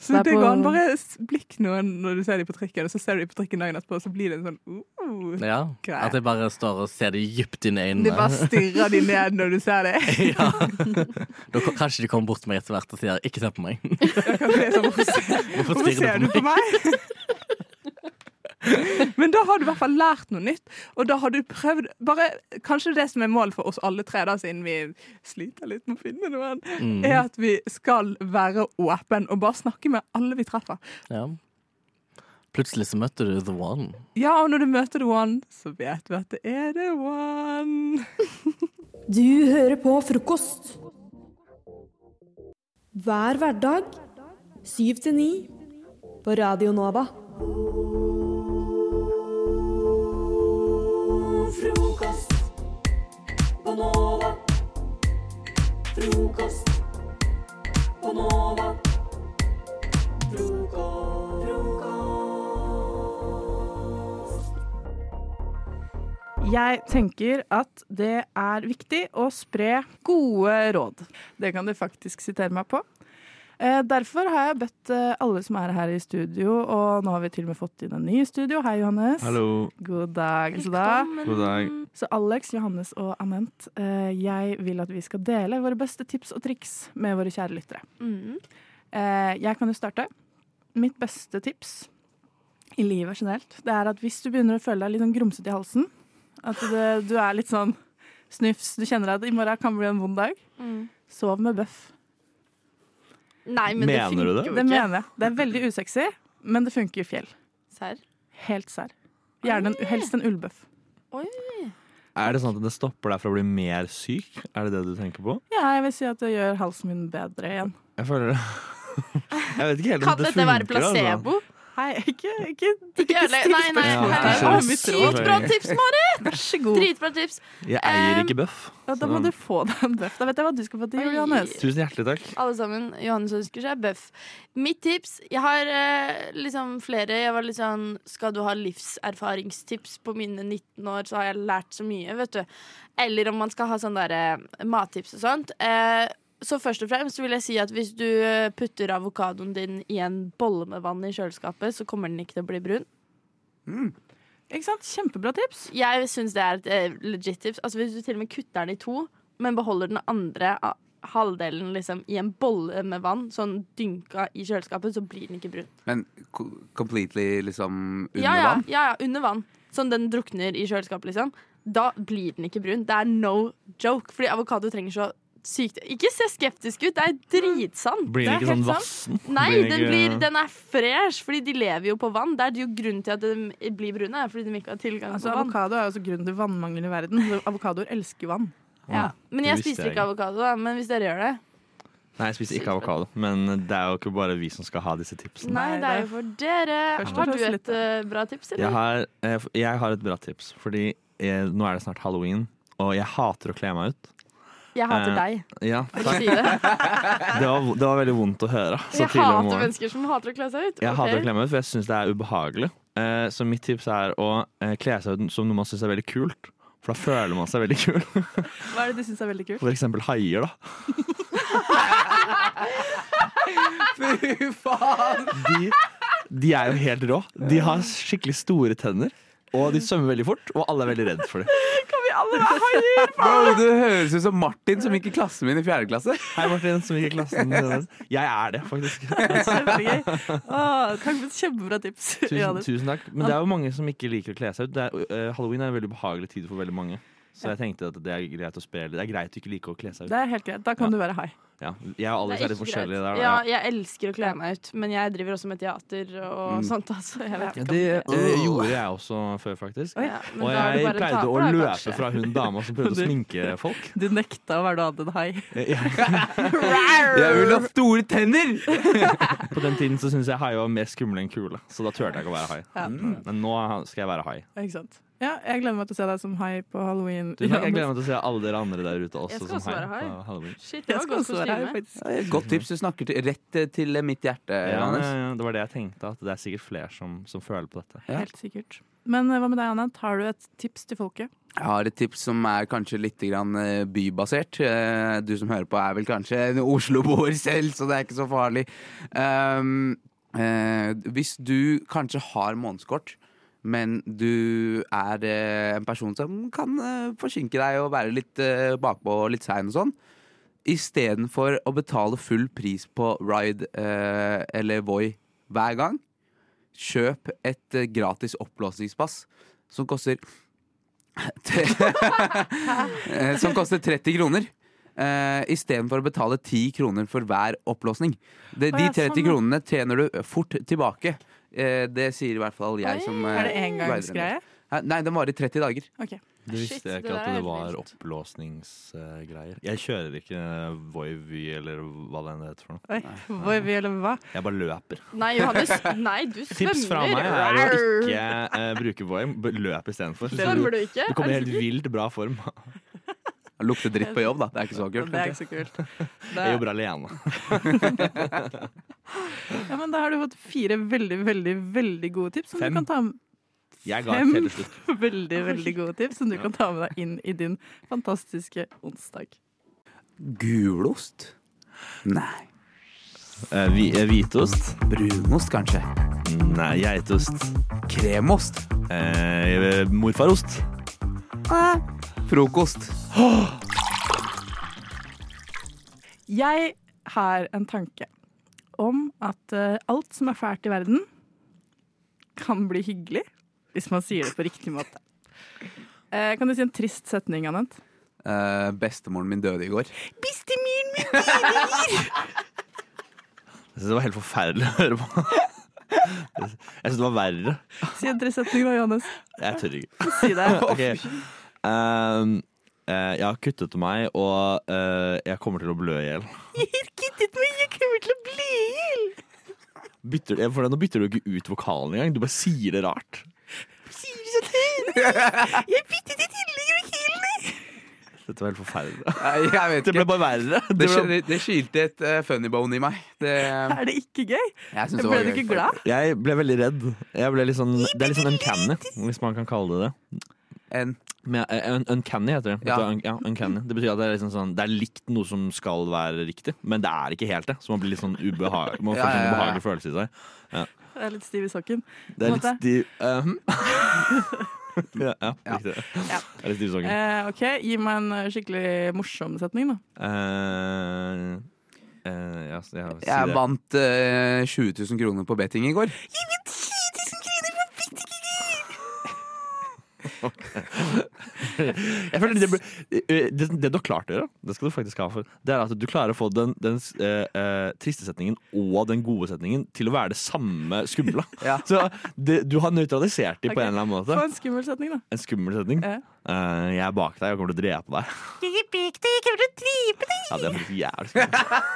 S6: Så
S7: Det er
S6: det
S7: på-
S6: går an. Bare s- blikk noen når du ser dem på trikken, og så ser du dem på trikken dagen etterpå, og så blir det en sånn uh,
S14: Ja,
S6: Greie.
S14: At jeg bare står og ser det dypt inn i
S6: Det bare
S14: øynene.
S6: stirrer de ned når du ser det.
S14: [LAUGHS] ja. Da, ko- kanskje de kommer bort til meg etter hvert og sier 'ikke se på meg'.
S6: Da [LAUGHS] kan det sånn, hvorfor ser,
S14: Hvorfor
S6: hvorfor
S14: stirrer
S6: ser du
S14: du på
S6: på
S14: meg?
S6: meg? [LAUGHS] Men da har du i hvert fall lært noe nytt, og da har du prøvd bare, Kanskje det som er målet for oss alle tre, da, siden vi sliter litt med å finne noen,
S14: Mm.
S6: er at vi skal være åpen og bare snakke med alle vi treffer.
S14: Ja. Plutselig så møtte du the one.
S6: Ja, og når du møter the one, så vet du at det er the one.
S8: Du hører på frokost. Hver hverdag syv til ni på Radio Nova. Frokost på Nova. Frokost på Nova. Frokost.
S11: Jeg tenker at det er viktig å spre gode råd. Det kan du faktisk sitere meg på. Eh, Derfor har jeg bedt eh, alle som er her i studio, og nå har vi til og med fått inn en ny i studio. Hei, Johannes.
S13: Hallo.
S11: God dag. Så, da.
S13: God dag.
S5: Mm.
S11: så Alex, Johannes og Anent, eh, jeg vil at vi skal dele våre beste tips og triks med våre kjære lyttere.
S5: Mm.
S11: Eh, Jeg kan jo starte. Mitt beste tips i livet generelt, det er at hvis du begynner å føle deg litt sånn grumsete i halsen, at det, du er litt sånn snufs, du kjenner at i morgen kan bli en vond dag, sov med bøff.
S5: Mm. Nei, men det
S13: Mener du
S5: funker
S13: det?
S5: jo ikke.
S11: Det mener jeg. Det er veldig usexy, men det funker i fjell.
S5: Serr?
S11: Helt serr. Gjerne en, helst en ullbøff.
S15: Er det sånn at det stopper deg fra å bli mer syk? Er det det du tenker på?
S11: Ja, jeg vil si at det gjør halsen min bedre igjen.
S15: Jeg føler det. [LAUGHS] Jeg vet ikke helt om
S5: Kan
S15: det
S5: dette være
S15: funker, altså.
S5: placebo?
S11: Nei, ikke, ikke,
S5: Ikke ødelegg Nei, nei.
S15: Ja,
S5: nei.
S15: kanskje
S5: Å,
S15: det er
S5: Sykt bra
S15: selvfølgelig.
S5: tips, Marit!
S11: Vær så god.
S5: Dritbra tips.
S15: Jeg eier
S5: Um,
S15: ikke bøff.
S11: Ja, da må
S15: så-
S11: du få deg en bøff. Da vet jeg hva du skal få til,
S5: Oi.
S11: Johannes.
S15: Tusen hjertelig takk.
S5: Alle sammen. Johannes ønsker seg bøff. Mitt tips Jeg har eh, liksom flere. Jeg var litt sånn Skal du ha livserfaringstips på mine 19 år, så har jeg lært så mye, vet du. Eller om man skal ha sånn derre mattips og sånt. Eh, så først og fremst vil jeg si at hvis du eh, putter avokadoen din i en bolle med vann i kjøleskapet, så kommer den ikke til å bli brun.
S11: Ikke sant? Kjempebra tips.
S5: Jeg syns det er et eh, legit tips. Altså Hvis du til og med kutter den i to, men beholder den andre a- halvdelen liksom i en bolle med vann, sånn dynka i kjøleskapet, så blir den ikke brun.
S16: Men co- completely liksom under
S5: ja, ja,
S16: vann?
S5: Ja, ja, under vann. Sånn den drukner i kjøleskapet, liksom. Da blir den ikke brun. Det er no joke, fordi avokado trenger så sykt Ikke se skeptisk ut, det er dritsant.
S15: Blir
S5: Det
S15: den ikke
S5: er
S15: sånn
S5: helt sant.
S15: vassen?
S5: Nei,
S15: Blir den
S5: den,
S15: ikke-
S5: blir, den er fresh, fordi de lever jo på vann. Det er jo grunnen til at de blir brune, er fordi de ikke har tilgang
S11: Altså,
S5: på vann.
S11: avokado er jo også grunnen til vannmangelen i verden. så Avokadoer elsker vann.
S5: Ja. Men
S15: Det
S5: jeg
S15: visste
S5: spiser
S15: jeg
S5: ikke avokado, da. Men hvis dere gjør det
S15: Nei, jeg spiser ikke avokado. Men det er jo ikke bare vi som skal ha disse tipsene.
S5: Nei, det er jo for dere.
S11: Først og
S5: Har du
S11: fremst
S5: et eh, bra tips,
S15: Jeg
S5: eller?
S15: har, eh, f- jeg har et bra tips, fordi eh, nå er det snart halloween, og jeg hater å kle meg ut.
S5: Jeg hater
S15: Eh,
S5: deg.
S15: Ja,
S5: Vil du
S15: takk.
S5: si det?
S15: [LAUGHS] Det var, det var veldig vondt å høre. Så
S5: Jeg
S15: tidlig om
S5: hater
S15: morgenen.
S5: mennesker som hater å kle seg ut.
S15: Jeg hater
S5: Ok.
S15: å kle meg ut, for jeg syns det er ubehagelig. Eh, så mitt tips er å eh, kle seg ut som noe man syns er veldig kult. For da føler man seg veldig kul. [LAUGHS]
S11: Hva er det du syns er veldig kult? [LAUGHS]
S15: For eksempel haier, da.
S16: Fy faen!
S15: De, de er jo helt rå. De har skikkelig store tenner. Og de svømmer veldig fort, og alle er veldig redd for dem.
S16: Kan vi alle være
S15: [LAUGHS]
S16: haier? Bro, du høres ut som Martin som gikk i klassen min i fjerde klasse.
S15: Hei, Martin, som gikk i klassen min. Jeg er det, faktisk.
S11: Kjempegøy. Å, takk for et kjempebra tips.
S15: Tusen,
S11: Johannes.
S15: tusen takk. Men det er jo mange som ikke liker å kle seg ut. Det er, eh, Halloween er en veldig behagelig tid for veldig mange. Så jeg tenkte at det er greit å spille. Det er greit å ikke like å kle seg ut.
S11: Det er helt greit. Da kan du være high.
S15: Ja, Jeg og
S5: Det er
S15: Alice er litt
S5: ikke
S15: forskjellige
S5: greit.
S15: der.
S5: Ja,
S15: da.
S5: jeg elsker å kle meg ut, men jeg driver også med teater og
S15: Mm.
S5: sånt. Altså. Jeg vet
S15: Ja,
S5: ikke om
S15: det
S5: det-
S15: eh, gjorde jeg også før, faktisk.
S5: Å ja, men
S15: og
S5: da er du
S15: jeg
S5: bare en
S15: pleide
S5: taper,
S15: å
S5: da,
S15: løpe
S5: kanskje.
S15: fra hun dama som
S16: [LAUGHS]
S15: prøvde å
S11: Du-
S15: sminke folk.
S11: Du nekta å være noe annet enn high.
S15: [LAUGHS] Jeg vil ha store
S16: [LAUGHS]
S15: tenner! På den tiden så syntes jeg hai var mer skummel enn kule, så da turte jeg ikke å være hai.
S11: Ja.
S15: Mm. Men nå skal jeg være hai.
S11: Ikke sant? Ja, jeg gleder meg til å se deg som high på halloween.
S15: Du, takk, jeg gleder meg til å se alle dere andre der ute også,
S11: Jeg skal
S15: som
S11: også
S15: hai.
S11: være hai.
S15: på Halloween.
S5: Shit,
S11: Jeg skal også være high, faktisk.
S16: Ja, Godt tips. Du snakker til, rett eh, til eh, mitt hjerte,
S15: Ja, ja,
S16: Johannes.
S15: ja, det var det jeg tenkte, at det er sikkert flere som, som føler på dette.
S11: Helt sikkert. Men eh, hva med deg, Anne? Tar du et tips til folket?
S16: Jeg har et tips som er kanskje litt grann eh, bybasert. Eh, Du som hører på er vel kanskje en Oslo-boer selv, så det er ikke så farlig. Um, eh, hvis du kanskje har månedskort, men du er eh, en person som kan eh, forsinke deg og være litt eh, bakpå og litt sein og sånn, istedenfor å betale full pris på Ride eh, eller Voi hver gang, kjøp et eh, gratis oppblåsningspass som koster Eh, [LAUGHS] som koster 30 kroner. Uh, Istedenfor å betale 10 kroner for hver opplåsning. De,
S11: Å,
S16: de
S11: ja,
S16: 30
S11: sånn, ja.
S16: kronene tjener du fort tilbake. Eh, det sier i hvert fall jeg som eh,
S11: Er det engangsgreie?
S16: Hæ? Nei, den varer i 30 dager.
S11: Ok.
S15: Du visste jeg
S11: det
S15: ikke
S11: der er
S15: at det
S11: helt
S15: var oppblåsningsgreier. Jeg kjører ikke Voi Vy eller hva det enn heter for
S11: Oi,
S15: noe.
S11: [LAUGHS] hvor vi eller hva?
S15: Jeg bare løper.
S5: Nei, Johannes. Nei, du svømmer.
S15: [LAUGHS] Tips fra meg er å ikke eh, bruke Voi, b- løp istedenfor.
S5: Svømmer du ikke?
S15: Du
S11: [LAUGHS]
S15: kommer i helt vilt bra form.
S16: [LAUGHS] Lukter dritt på jobb, da. Det er ikke så kult.
S11: Det er ikke så
S15: [LAUGHS]
S11: kult.
S15: Jeg jobber alene.
S11: Ja, men da har du fått fire veldig, veldig, veldig gode tips. Som
S15: Fem.
S11: du kan ta med.
S15: Jeg ga et
S11: Fem
S15: helt til slutt.
S11: [LAUGHS] veldig, veldig gode tips som du
S15: Ja.
S11: kan ta med deg inn i din fantastiske onsdag.
S16: Gulost? Nei.
S15: Eh, hvitost?
S16: Brunost, kanskje?
S15: Nei, geitost. Eh,
S16: Kremost?
S15: morfarost.
S16: Frokost.
S11: Jeg har en tanke om at eh, alt som er fælt i verden, kan bli hyggelig hvis man sier det på riktig
S15: [LAUGHS]
S11: måte. Eh, kan du si en trist setning, Anent?
S16: Eh, bestemoren min døde i går.
S11: Bistemiren min digger!
S15: Jeg synes det var helt forferdelig å høre på. Jeg synes det var verre.
S11: Si en trist setning da, Johannes.
S15: Jeg tør ikke.
S11: [LAUGHS] Si det.
S15: Ok. Ehm, eh, jeg har kuttet meg, og eh, jeg kommer til å blø i hjel.
S11: Jeg har kuttet meg, jeg kommer til å bli i hjel!
S15: Bytter- eh, for Nå bytter du ikke ut vokalen engang. Du bare sier det rart.
S11: Sier du så tydelig? Jeg byttet i tillegg med hylen!
S15: Dette var helt forferdelig.
S16: Nei, jeg vet
S15: Det ble
S16: ikke.
S15: bare verre.
S16: Det, sk- det skilte et eh, funny bone i meg. Det, eh,
S11: Er det ikke gøy?
S16: Jeg synes det
S11: Ble
S16: var
S11: du
S16: gøy,
S11: ikke glad?
S15: Jeg ble veldig redd. Jeg ble litt sånn, det er litt sånn uncanny, hvis man kan kalle det det.
S16: En.
S15: Men, eh, un, uncanny heter det.
S16: Ja.
S15: Un, ja, uncanny. Det betyr at det er, liksom sånn, det er likt noe som skal være riktig, men det er ikke helt det. Så man blir litt sånn ubeha man
S16: Ja,
S15: får sånn
S16: ja, ja.
S15: ubehagelig følelse i seg. Ja.
S11: Jeg er litt stiv i sokken.
S15: Det er
S11: På en
S15: litt
S11: måte.
S15: stiv
S16: [LAUGHS]
S15: eh, [LAUGHS] Ja, ja, riktig. Det er litt sånn. stiv i sangen.
S11: Eh, OK, gi meg en eh, skikkelig morsom setning, da.
S15: Eh, eh, ja, så jeg,
S16: Jeg vant eh, 20 000 kroner på betting i går. [LAUGHS]
S15: [LAUGHS] jeg føler det, ble, det, det du har klart å gjøre, det skal du faktisk ha for, det er at du klarer å få den, den eh, eh, triste setningen og den gode setningen til å være det samme
S11: [LAUGHS]
S15: skumle. Så det, du har nøytralisert dem på
S11: Ok,
S15: en eller annen
S11: Få en
S15: måte.
S11: skummel setning, da.
S15: En skummel setning.
S11: Ja.
S15: Eh, jeg er bak deg og kommer til å drepe deg.
S11: Jeg fikk det, jeg kommer til å dripe deg!
S15: Ja, det er faktisk jævlig skummelt.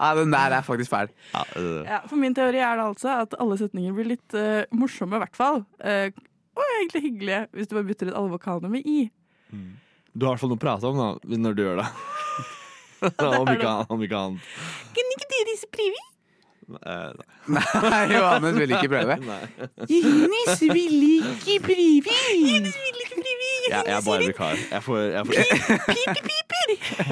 S16: Ja, den der er faktisk fæl.
S15: Ja, eh,
S11: Ja, for min teori er det altså at alle setninger blir litt eh, morsomme, i hvert fall. Eh, og egentlig hyggelige, hvis du bare bytter ut alle vokalene med i.
S15: du har i hvert fall noe å prate om da, når du
S11: [LAUGHS]
S15: gjør det. om ikke annet. Om ikke annet.
S11: Kan ikke dere disse privi?
S15: Eh,
S11: [LAUGHS]
S15: nei.
S16: Nei, Johannes vil ikke
S15: [LAUGHS]
S16: prøve.
S11: Johannes vil ikke privi! Johannes vil ikke privi!
S15: Jeg, jeg er bare vikar. Jeg får, jeg får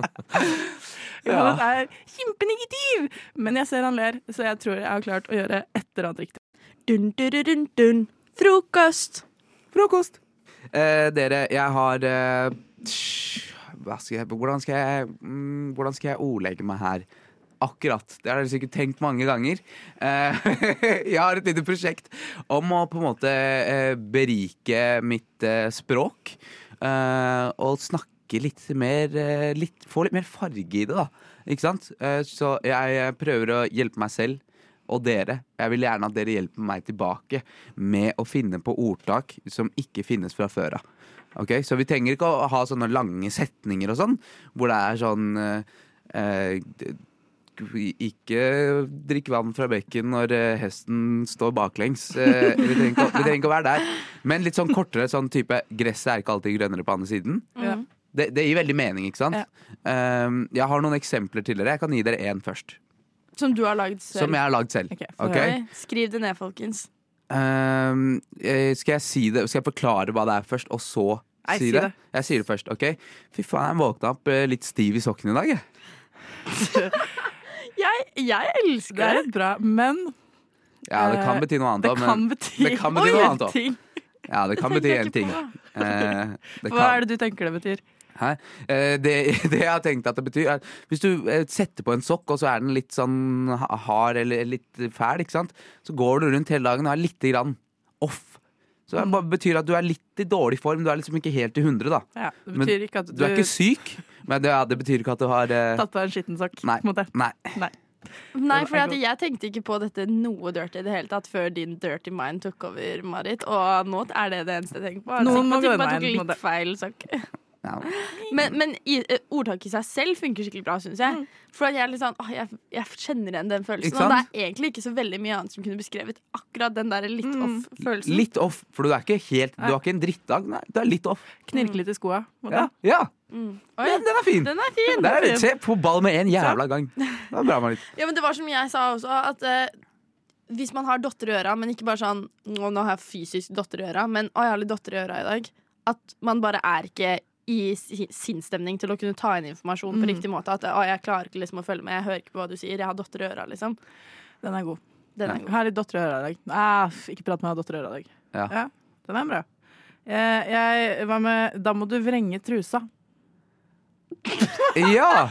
S11: [LAUGHS]
S8: [LAUGHS]
S11: Johannes er kjempenegativ! Men jeg ser han ler, så jeg tror jeg har klart å gjøre et eller annet riktig.
S5: Dun, dun, dun, dun, dun. Frokost!
S16: Frokost! Eh, dere, jeg har eh, sj- hva skal jeg, hvordan, skal jeg, mm, hvordan skal jeg ordlegge meg her? Akkurat. Det har dere sikkert tenkt mange ganger. Eh, [LAUGHS] jeg har et lite prosjekt om å på en måte eh, berike mitt eh, språk. eh, og snakke litt mer eh, litt, Få litt mer farge i det, da. Ikke sant? Eh, så jeg eh, prøver å hjelpe meg selv og dere. Jeg vil gjerne at dere hjelper meg tilbake med å finne på ordtak som ikke finnes fra før av. Ok, Så vi trenger ikke å ha sånne lange setninger og sånn, hvor det er sånn eh, eh, d- Ikke drikk vann fra bekken når eh, hesten står baklengs. Eh, vi, trenger ikke, å- vi trenger ikke å være der. Men litt sånn kortere sånn type 'gresset er ikke alltid grønnere på andre siden'.
S5: Mm.
S16: Det, det gir veldig mening, ikke sant? Um, jeg har noen eksempler til dere. Jeg kan gi dere én først.
S5: Som du har lagd selv.
S16: Som jeg har lagd selv.
S5: Ok,
S16: Ok.
S5: forhåpentlig. Skriv det ned, folkens.
S16: Um, eh, skal, jeg si det, skal jeg forklare hva det er først, og så
S5: Nei,
S16: si
S5: si
S16: det?
S5: det.
S16: Jeg sier det først. ok? Fy faen, jeg våkna opp eh, litt stiv i sokken i dag. jeg.
S5: Jeg, jeg elsker
S11: det. er litt bra, men
S16: Ja, det kan
S11: Eh,
S16: bety noe annet. da,
S11: det
S16: men-
S11: kan bety-
S16: det kan
S11: Oi, [LAUGHS]
S16: bety noe
S11: en
S16: annet. da.
S11: ting.
S16: Ja, det kan
S11: Det
S16: bety
S11: tenker
S16: én
S11: jeg
S16: ting.
S11: ikke på.
S16: Eh, det
S11: Hva
S16: kan-
S11: er det du tenker det betyr?
S16: Hæ? Eh, Det, [LAUGHS] det jeg har tenkt at det betyr er, Hvis du eh, setter på en sokk Og så er den litt sånn ha- hard Eller litt fæl, ikke sant? Så går du rundt hele dagen og er litt grann off Så
S11: Mm.
S16: det bare betyr at du er litt i dårlig form Du er liksom ikke helt i hundre da
S11: Ja, det
S16: Men
S11: betyr ikke at
S16: Du er
S11: du-
S16: ikke syk Men det, ja, det betyr ikke at du har eh,
S11: Tatt på en skitten sokk?
S16: Nei, nei.
S5: Nei, for
S16: jeg-
S5: jeg tenkte ikke på dette noe dirty i det hele tatt før din dirty mind tok over, Marit. Og nå er det det eneste jeg tenker på. Altså,
S11: Noen må
S5: Jeg tenker
S11: gå
S5: på at jeg
S11: den veien,
S5: tok
S11: på en måte.
S5: litt feil sak.
S16: Ja.
S5: [LAUGHS] Men, men i- eh, ordtaket i seg selv funker skikkelig bra, syns jeg. For at jeg er litt sånn, åh, jeg, jeg kjenner igjen den
S16: Mm. Ikke
S5: følelsen. Og
S16: sant?
S5: det er egentlig ikke så veldig mye annet som kunne beskrevet akkurat den der litt
S11: Liksom.
S5: off-følelsen.
S16: Mm. Litt off, for du er ikke helt Du har ikke en drittdag, nei, du er litt off
S11: Knirke litt i skoa. må
S16: Ja,
S11: det?
S16: ja.
S5: Mm. Oi,
S16: Den, den er fin,
S5: Den er fin.
S16: Der er det- Se på ball med en jævla gang Det var bra, Marit
S5: Ja, men det var som jeg sa også, at eh, hvis man har dotter i øra, men ikke bare sånn Å, nå har jeg fysisk dotter i øra, men å, jeg har litt dotter i øra i dag. At man bare er ikke i si- sinnsstemning til å kunne ta inn informasjon på
S11: Mhm.
S5: riktig måte. At å, jeg klarer ikke liksom å følge med, jeg hører ikke på hva du sier, jeg har dotter i øra, liksom.
S11: Den er god.
S5: Den er
S11: Jeg har litt dotter i øra i dag. Ah, f- ikke prat med meg, jeg har dotter i øra i dag.
S16: Ja.
S11: den er bra. Jeg, jeg, hva med Da må du vrenge trusa.
S16: Ja!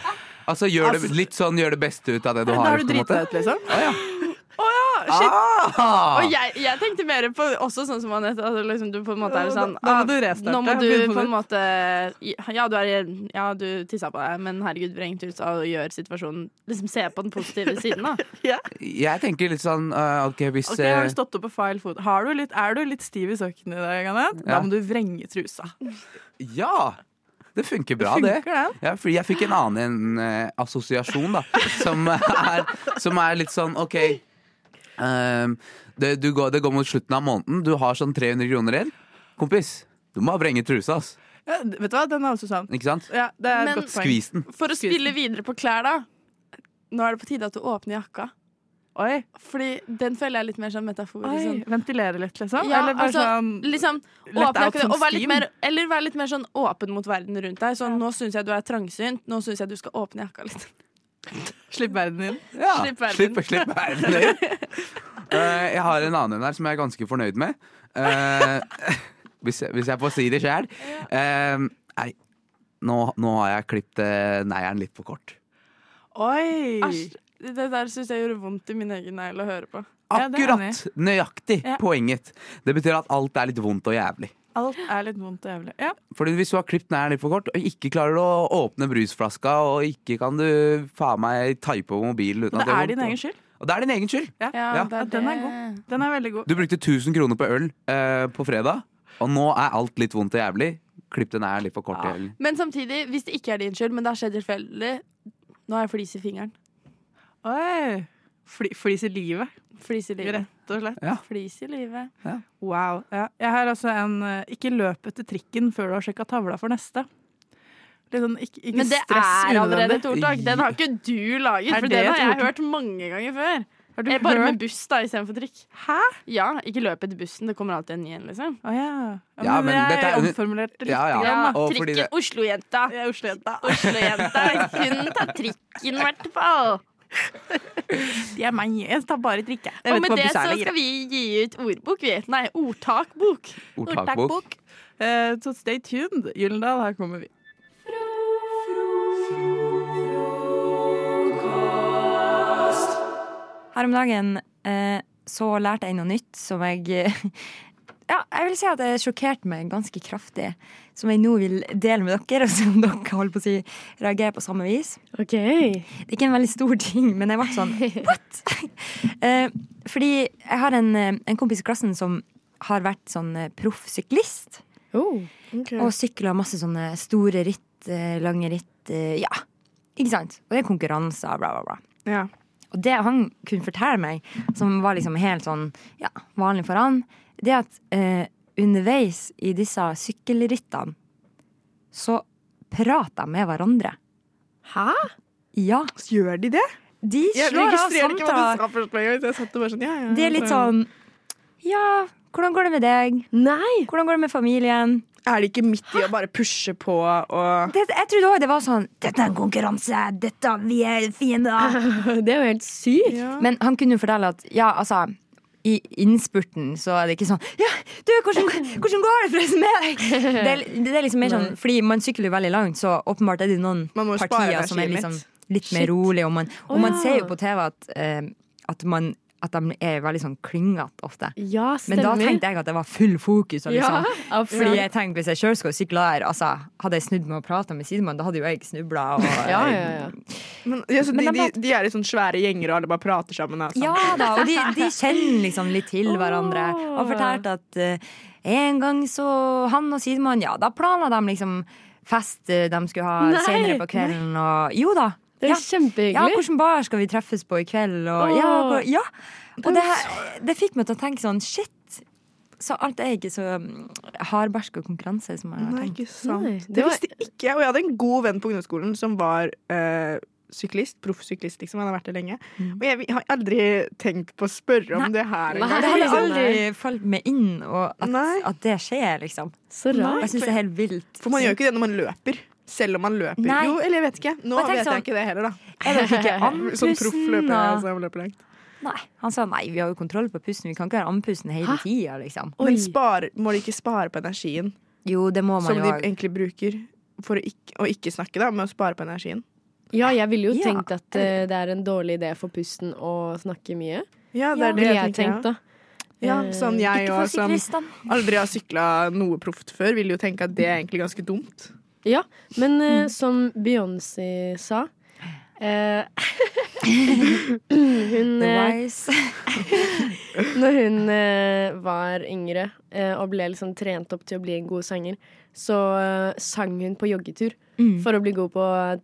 S16: Altså, gjør det, litt sånn gjør det beste ut av det du
S11: Da
S16: har.
S11: har du
S16: på en
S11: driti
S16: måte.
S11: deg ut, liksom.
S16: Ah!
S5: Og jeg, jeg tenkte mer på også sånn som Anette. Altså liksom du på en måte er sånn
S11: Nå må
S5: ah,
S11: du restarte,
S5: Nå må du
S11: begynne på
S5: på en måte Ja, du, er, ja, du tissa på deg, men herregud, vreng ut og gjør situasjonen Liksom se på den positive siden, da.
S11: [LAUGHS]
S16: Jeg tenker litt sånn eh, OK, hvis
S11: Ok, Har
S16: eh,
S11: du stått opp på feil fot? Har du litt, er du litt stiv i sokken i dag, Anette? Da
S16: Ja.
S11: må du vrenge trusa. Eh,
S16: Ja! Det funker bra, det.
S11: Det funker,
S16: Ja, fordi jeg fikk en annen eh, assosiasjon, da. Som [LAUGHS] er, som er litt sånn OK. ehm, det, du går, det går mot slutten av måneden. Du har sånn 300 kroner igjen. Kompis, du må ha vrenge trusa, ass.
S11: Ja, d- vet du hva, den er også sann.
S16: Ikke sant?
S11: Ja, det er et
S5: altså sånn. Men-
S11: godt poeng.
S16: Skvis den.
S5: For å spille videre på klær, da. Nå er det på tide at du åpner jakka.
S11: Oi.
S5: Fordi den føler jeg er litt mer sånn metaforisk.
S11: Oi,
S5: Sånn.
S11: ventilere litt, liksom?
S5: Ja,
S11: Eller bare
S5: altså,
S11: sånn
S5: liksom,
S11: let
S5: åpne
S11: out
S5: jakka,
S11: som
S5: og vær litt
S11: steam?
S5: mer, eller vær litt mer sånn åpen mot verden rundt deg. Sånn, nå syns jeg du er trangsynt, nå syns jeg du skal åpne jakka litt.
S11: Slipp verden inn.
S16: Ja,
S5: Slipp verden.
S16: Slipp, slipp verden inn.
S11: [LAUGHS]
S16: Eh, jeg har en annen en her som jeg er ganske fornøyd med. Eh, [LAUGHS] hvis, jeg, hvis jeg får si det sjøl. nei, nå, nå har jeg klippet eh, neieren litt for kort.
S11: Oi!
S5: Æsj. Det der syns jeg gjorde vondt i min egen negl å høre på.
S16: Akkurat! Nøyaktig
S11: Ja.
S16: poenget. Det betyr at alt er litt vondt og jævlig.
S11: Alt er litt vondt og jævlig. Ja.
S16: Fordi Hvis du har klippet neieren litt for kort, og ikke klarer du å åpne brusflaska, og ikke kan du faen meg type på mobilen uten
S11: Og
S16: at
S11: det
S16: gjør
S11: er din
S16: vondt,
S11: egen skyld.
S16: Og det er din egen skyld.
S11: Ja,
S16: Ja. det er
S11: Ja, Den er god. Den er veldig god.
S16: Du brukte 1000 kroner på øl eh, på fredag, og nå er alt litt vondt og jævlig. Klipp den er litt for kort i ølen.
S5: Men samtidig, hvis det ikke er din skyld, men det har skjedd tilfeldig Nå har jeg flis i fingeren.
S11: Oi! Fli, flis i livet.
S5: Flis i livet.
S11: Rett og slett.
S5: Flis i livet.
S11: Wow. Ja. Jeg har altså en eh, Ikke løp etter trikken før du har sjekka tavla for neste. Litt sånn, ikke, ikke
S5: Men det
S11: stress
S5: er allerede
S11: unødvendig.
S5: et ordtak. Den har ikke du laget,
S11: Er
S5: for
S11: det
S5: den
S11: et
S5: har jeg
S11: ordtak?
S5: hørt mange ganger før.
S11: du
S5: Eh, Bare
S11: hørt-
S5: med buss da, istedenfor trikk.
S11: Hæ?
S5: Ja, ikke løp etter bussen. Det kommer alltid en ny en, liksom.
S11: Å ja. Ja,
S16: Ja,
S11: men
S16: men
S11: jeg
S16: dette er under-
S11: omformulerte litt.
S16: Ja, ja.
S5: Ja,
S16: Og fordi
S5: trikken.
S16: det-
S5: Oslo-jenta. [LAUGHS]
S11: Jeg er Oslo-jenta.
S5: Oslo-jenta. Hun tar trikken, i hvert fall.
S11: Det er meg. Jeg tar bare drikke.
S5: Og
S11: Jeg vet
S5: med
S11: hva
S5: det så
S11: busserne gir.
S5: skal vi gi ut ordbok, vi. Nei, ordtakbok.
S11: Ordtakbok. Eh, så stay tuned. Gyllendal, her kommer vi.
S17: Her om dagen eh, så lærte jeg noe nytt som jeg [LAUGHS] eh, Ja, jeg vil si at det sjokkerte meg ganske kraftig. Som jeg nå vil dele med dere, og som dere holder på å si reagerer på samme vis. Det er ikke en veldig stor ting, men jeg ble sånn What?! [LAUGHS] Eh, fordi jeg har en, eh, en kompis i klassen som har vært sånn eh, proff syklist. Og sykla masse sånne store ritt, eh, lange ritt. eh, Ja, ikke sant? Og det er konkurranser, bla, bla, bla.
S3: Ja.
S17: Og det han kunne fortelle meg, som var liksom helt sånn ja, vanlig for han, det er at eh, underveis i disse sykkelrittene, så prater de med hverandre. Hæ? Ja. Gjør de det? De
S3: Jeg
S17: slår av
S3: registrerer ikke hva du
S17: samtaler.
S3: sa først med en gang. så Jeg satt og bare sånn, ja, ja,
S17: Det er litt sånn Ja, hvordan går det med deg? Nei. Hvordan går det med familien?
S3: Er det ikke midt i å bare pushe på og
S17: Det, jeg trodde òg det var sånn Dette er en konkurranse! Dette, vi er fiender!
S3: [LAUGHS]
S17: det er jo helt sykt. Men han kunne jo fortelle at ja, altså i innspurten så er det ikke sånn Ja, du, hvordan, hvordan går det forresten med deg?
S3: [LAUGHS]
S17: Det er, det er liksom mer sånn Fordi man sykler jo veldig langt, så åpenbart er det noen
S3: jo spare
S17: partier som er
S3: energien
S17: liksom
S3: litt.
S17: litt mer
S3: Shit.
S17: rolig. Og man, og
S3: Å,
S17: man
S3: ja.
S17: ser jo på TV at, eh, at, man, at de er veldig sånn klyngete ofte.
S18: Ja,
S17: Men da
S18: stemmer.
S17: tenkte jeg at det var full fokus. Og liksom.
S18: Ja,
S17: Fordi
S18: absolutt.
S17: jeg tenkte hvis jeg sjøl skulle sykle her, altså, hadde jeg snudd meg og prata med sidemann, da hadde jo jeg snubla.
S3: [LAUGHS] Ja, ja, ja. Men, ja, så
S17: Men
S3: de,
S17: de
S3: de, de er i sånne svære gjenger, og alle bare prater sammen? Altså.
S17: Ja da, og de,
S3: [LAUGHS]
S17: de kjenner liksom litt til hverandre. Og fortalte at eh, en gang så han og sidemann, ja, da planla de liksom fest eh, de skulle ha
S18: Nei,
S17: senere på kvelden. Og jo da.
S18: Det er
S17: ja.
S18: kjempehyggelig.
S17: Ja, hvilken bar skal vi treffes på i kveld? Og,
S18: Åh.
S17: ja, hvor- ja. og det, her- det fikk meg til å tenke sånn shit. Så alt er ikke så mm, hardbarsk og konkurranse som jeg har
S3: Nei,
S17: tenkt.
S3: ikke sant. det visste ikke jeg. Og jeg hadde en god venn på ungdomsskolen som var eh, syklist. Proffsyklist, liksom. Han har vært det lenge.
S17: Mm.
S3: Og jeg, har aldri tenkt på å spørre om det her. engang.
S17: Det hadde
S3: Liksom.
S17: aldri falt meg inn og at, at det skjer, liksom.
S18: Så
S3: rart.
S17: Jeg syns det er helt vilt.
S3: For man gjør jo ikke det når man løper. Selv om man løper.
S17: Nei.
S3: Jo, eller jeg vet ikke. Nå
S17: Og
S3: vet
S17: jeg tenker
S3: jeg
S17: sånn,
S3: ikke det heller, da.
S17: jeg vet ikke,
S3: [LAUGHS] Som proffløper.
S17: andpusten og-
S3: Altså, jeg løper langt.
S17: Nei. Han sa nei, vi har jo kontroll på pusten, vi kan ikke være andpusten hele tida, liksom.
S3: Men spar, må de ikke spare på energien?
S17: Jo, det må man
S3: Som
S17: jo
S3: de
S17: ha.
S3: egentlig bruker for å ikke, å ikke snakke, da, med å spare på energien.
S18: Ja, jeg ville jo
S3: Ja,
S18: tenkt at eh, det er en dårlig idé for pusten å snakke mye.
S3: Ja, det er det
S18: ville
S3: jeg
S18: jeg
S3: tenker, ja.
S18: tenkt, da.
S3: Ja,
S18: Eh,
S3: sånn jeg
S18: ikke for
S3: og som
S18: syklistene.
S3: aldri har sykla noe proft før, vil jo tenke at det er egentlig ganske dumt.
S18: Ja, men eh, som Beyoncé sa eh, Hun eh, [LAUGHS] Når hun eh, var yngre eh, og ble liksom trent opp til å bli en god sanger, så eh, sang hun på joggetur
S17: Mm.
S18: for å bli god på å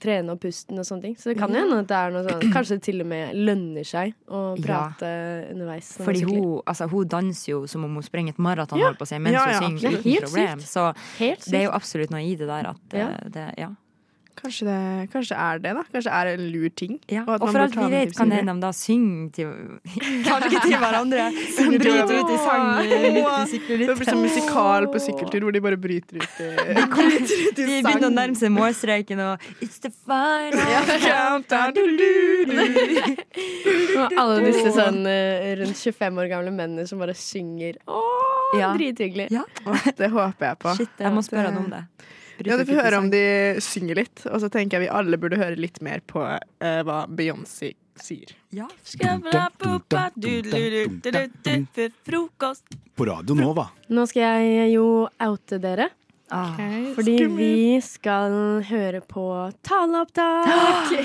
S18: trene opp pusten og sånne ting. Så det kan jo hende at det er noe sånn Kanskje det til og med lønner seg å
S17: Ja.
S18: prate underveis. når man
S17: Fordi
S18: sykler.
S17: hun, altså, hun danser jo som om hun springer et maraton
S18: Ja.
S17: holdt på å si, mens
S18: Ja, ja,
S17: hun
S18: absolutt.
S17: synger
S18: Det er
S17: uten
S18: helt
S17: problem.
S18: sykt.
S17: Så
S18: Helt
S17: det er jo
S18: sykt.
S17: absolutt noe i det der at
S18: Ja.
S17: eh, det Ja.
S3: Kanskje det, kanskje det er det, da. Kanskje det er en lur ting. at man
S17: Og for
S3: bør
S17: alt
S3: ta
S17: vi
S3: med
S17: vet,
S3: tipset
S17: kan
S3: videre. [LAUGHS]
S17: hende de da synge til [LAUGHS] Kanskje ikke til [LAUGHS] hverandre.
S3: Synger til
S17: Bryter ut i sang
S3: Åh.
S17: eh, midt
S3: Det
S17: i
S3: blir som
S17: sykkelritt.
S3: musikal på
S17: [LAUGHS]
S3: sykkeltur, hvor de bare bryter ut i
S17: De begynner å nærme seg målstreken og It's the final
S3: [LAUGHS]
S17: countdown.
S18: [LAUGHS] Og alle disse sånn eh, rundt 25 år gamle mennene som bare synger. Åh,
S3: Ja.
S18: Drithyggelig.
S3: Åh, Det håper jeg på. eh,
S18: Shit, jeg må spørre han om det.
S3: Ja, Du får høre om de synger litt, og så tenker jeg vi alle burde høre litt mer på eh, hva Beyoncé
S17: [GASPS]
S3: sier.
S17: Ja.
S5: Frokost.
S19: På Radio Nova.
S18: Nå skal jeg jo oute dere.
S17: Ah.
S18: fordi vi skal høre på
S3: [GASPS]
S18: taleopptak.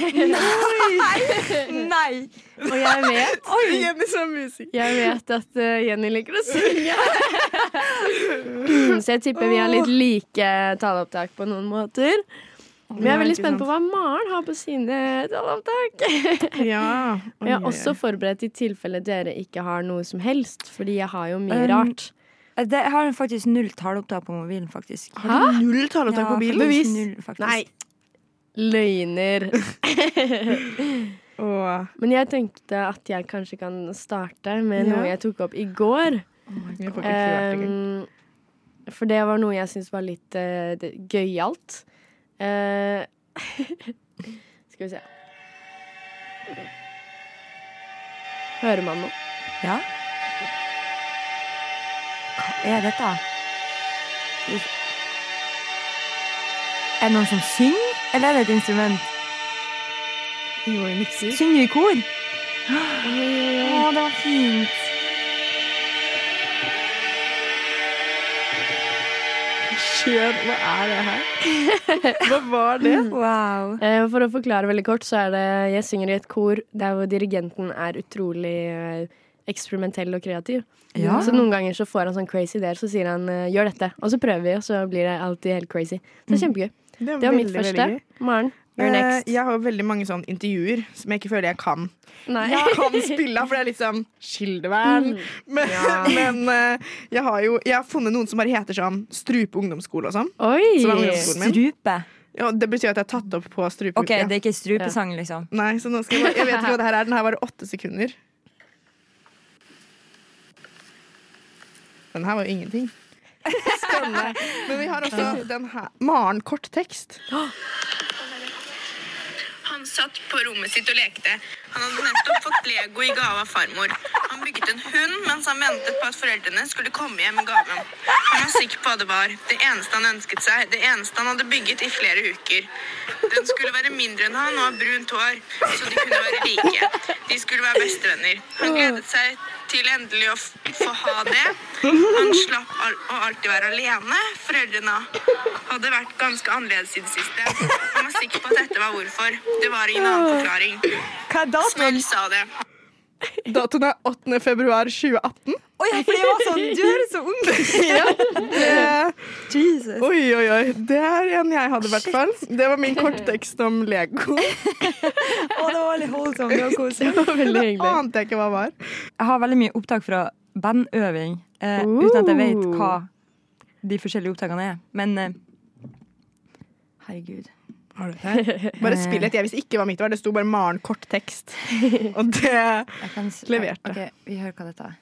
S17: [GASPS]
S18: [LAUGHS]
S3: [LAUGHS]
S17: Nei! Nei!
S18: Og jeg vet
S3: Jenny som musiker.
S18: Jeg vet at eh, Jenny liker å
S17: [LAUGHS]
S18: synge. Så jeg tipper vi har litt like taleopptak på noen måter. Men jeg er
S3: Ja,
S18: veldig
S3: ikke
S18: spent på hva
S3: sant.
S18: Maren har på sine
S17: [LAUGHS]
S18: taleopptak.
S3: Ja. Oi,
S18: Jeg har
S3: oi,
S18: også
S3: oi.
S18: forberedt i tilfelle dere ikke har noe som helst, fordi jeg har jo mye
S17: Um,
S18: rart.
S17: Det, jeg har faktisk null taleopptak på mobilen, faktisk.
S18: Har du Hæ?
S3: null
S18: taleopptak på mobilen?
S17: Bevis.
S18: Bevis.
S17: Null, faktisk.
S18: Nei.
S3: [LAUGHS]
S18: Løgner. Men jeg tenkte at jeg kanskje kan starte med
S3: Ja.
S18: noe jeg tok opp i går.
S3: Jeg får ikke klart det engang.
S18: Um, for det var noe jeg syntes var litt uh, det- gøyalt. [LAUGHS] Eh, skal vi se. Hører man noe?
S17: Ja. Hva er dette? Er det noen som synger, eller er det et instrument? Synger i kor? Å, det var fint.
S3: Kjør, hva er det her? Hva var det?
S18: Eh, For å forklare veldig kort, så er det Jeg synger i et kor der hvor dirigenten er utrolig eh, eksperimentell og kreativ.
S17: Ja.
S18: Så noen ganger så får han sånn crazy ideer, så sier han eh, 'gjør dette', og så prøver vi, og så blir det alltid helt crazy. Så det er kjempegøy.
S3: Det,
S18: var mitt
S3: veldig,
S18: første.
S3: veldig gøy.
S18: Maren, you're
S3: Eh,
S18: next.
S3: Jeg har veldig mange sånne intervjuer som jeg ikke føler jeg kan.
S18: Nei. Mm.
S3: Jeg
S18: [LAUGHS]
S3: kan spille av, for det er litt sånn kildevern. Men, [LAUGHS] men eh, jeg har jo jeg har funnet noen som bare heter sånn Strupe ungdomsskole og sånn.
S18: Oi.
S3: Som er ungdomsskolen min.
S17: Strupe?
S3: Ja, det betyr at jeg er tatt opp på strupe.
S17: Ok, det er ikke strupesang, liksom?
S3: Nei, så nå skal jeg bare Jeg vet ikke hva det her er. Den her varer åtte sekunder. Den her var jo ingenting. Spennende. Men vi har også den her. Maren Korttekst.
S8: Han satt på rommet sitt og lekte. Han hadde nettopp fått Lego i gave av farmor. Han bygget en hund mens han ventet på at foreldrene skulle komme hjem med gaven. Han var sikker på hva det var. Det eneste han ønsket seg. Det eneste han hadde bygget i flere uker. Den skulle være mindre enn han og ha brunt hår, så de kunne være like. De skulle være bestevenner. Han gledet seg til endelig å f- få ha det. Han slapp al å alltid være alene. Foreldrene hadde vært ganske annerledes i det siste. Han var sikker på at dette var hvorfor. Det var ingen annen forklaring.
S17: Øh. Hva er datoen?
S8: Snill sa det.
S3: Datoen er 8. februar 2018.
S17: Oi, for jeg var sånn Du høres så ung ut!
S3: Ja, det, Oi, oi, oi. Det er en jeg hadde, i hvert fall. Det var min korttekst om Lego.
S17: [LAUGHS] Å, det var litt holdsomt. [LAUGHS] Det var
S3: Det
S17: koselig.
S3: var veldig hyggelig. Det
S17: ante
S3: jeg ikke hva var.
S17: Jeg har veldig mye opptak fra bandøving, eh, uten at jeg vet hva de forskjellige opptakene er. Men eh, herregud.
S3: Har du det? Bare
S17: [LAUGHS]
S3: spill et jeg visste ikke hva mitt var. Det sto bare Maren Korttekst. Og det leverte.
S17: Ok, vi hører hva dette er.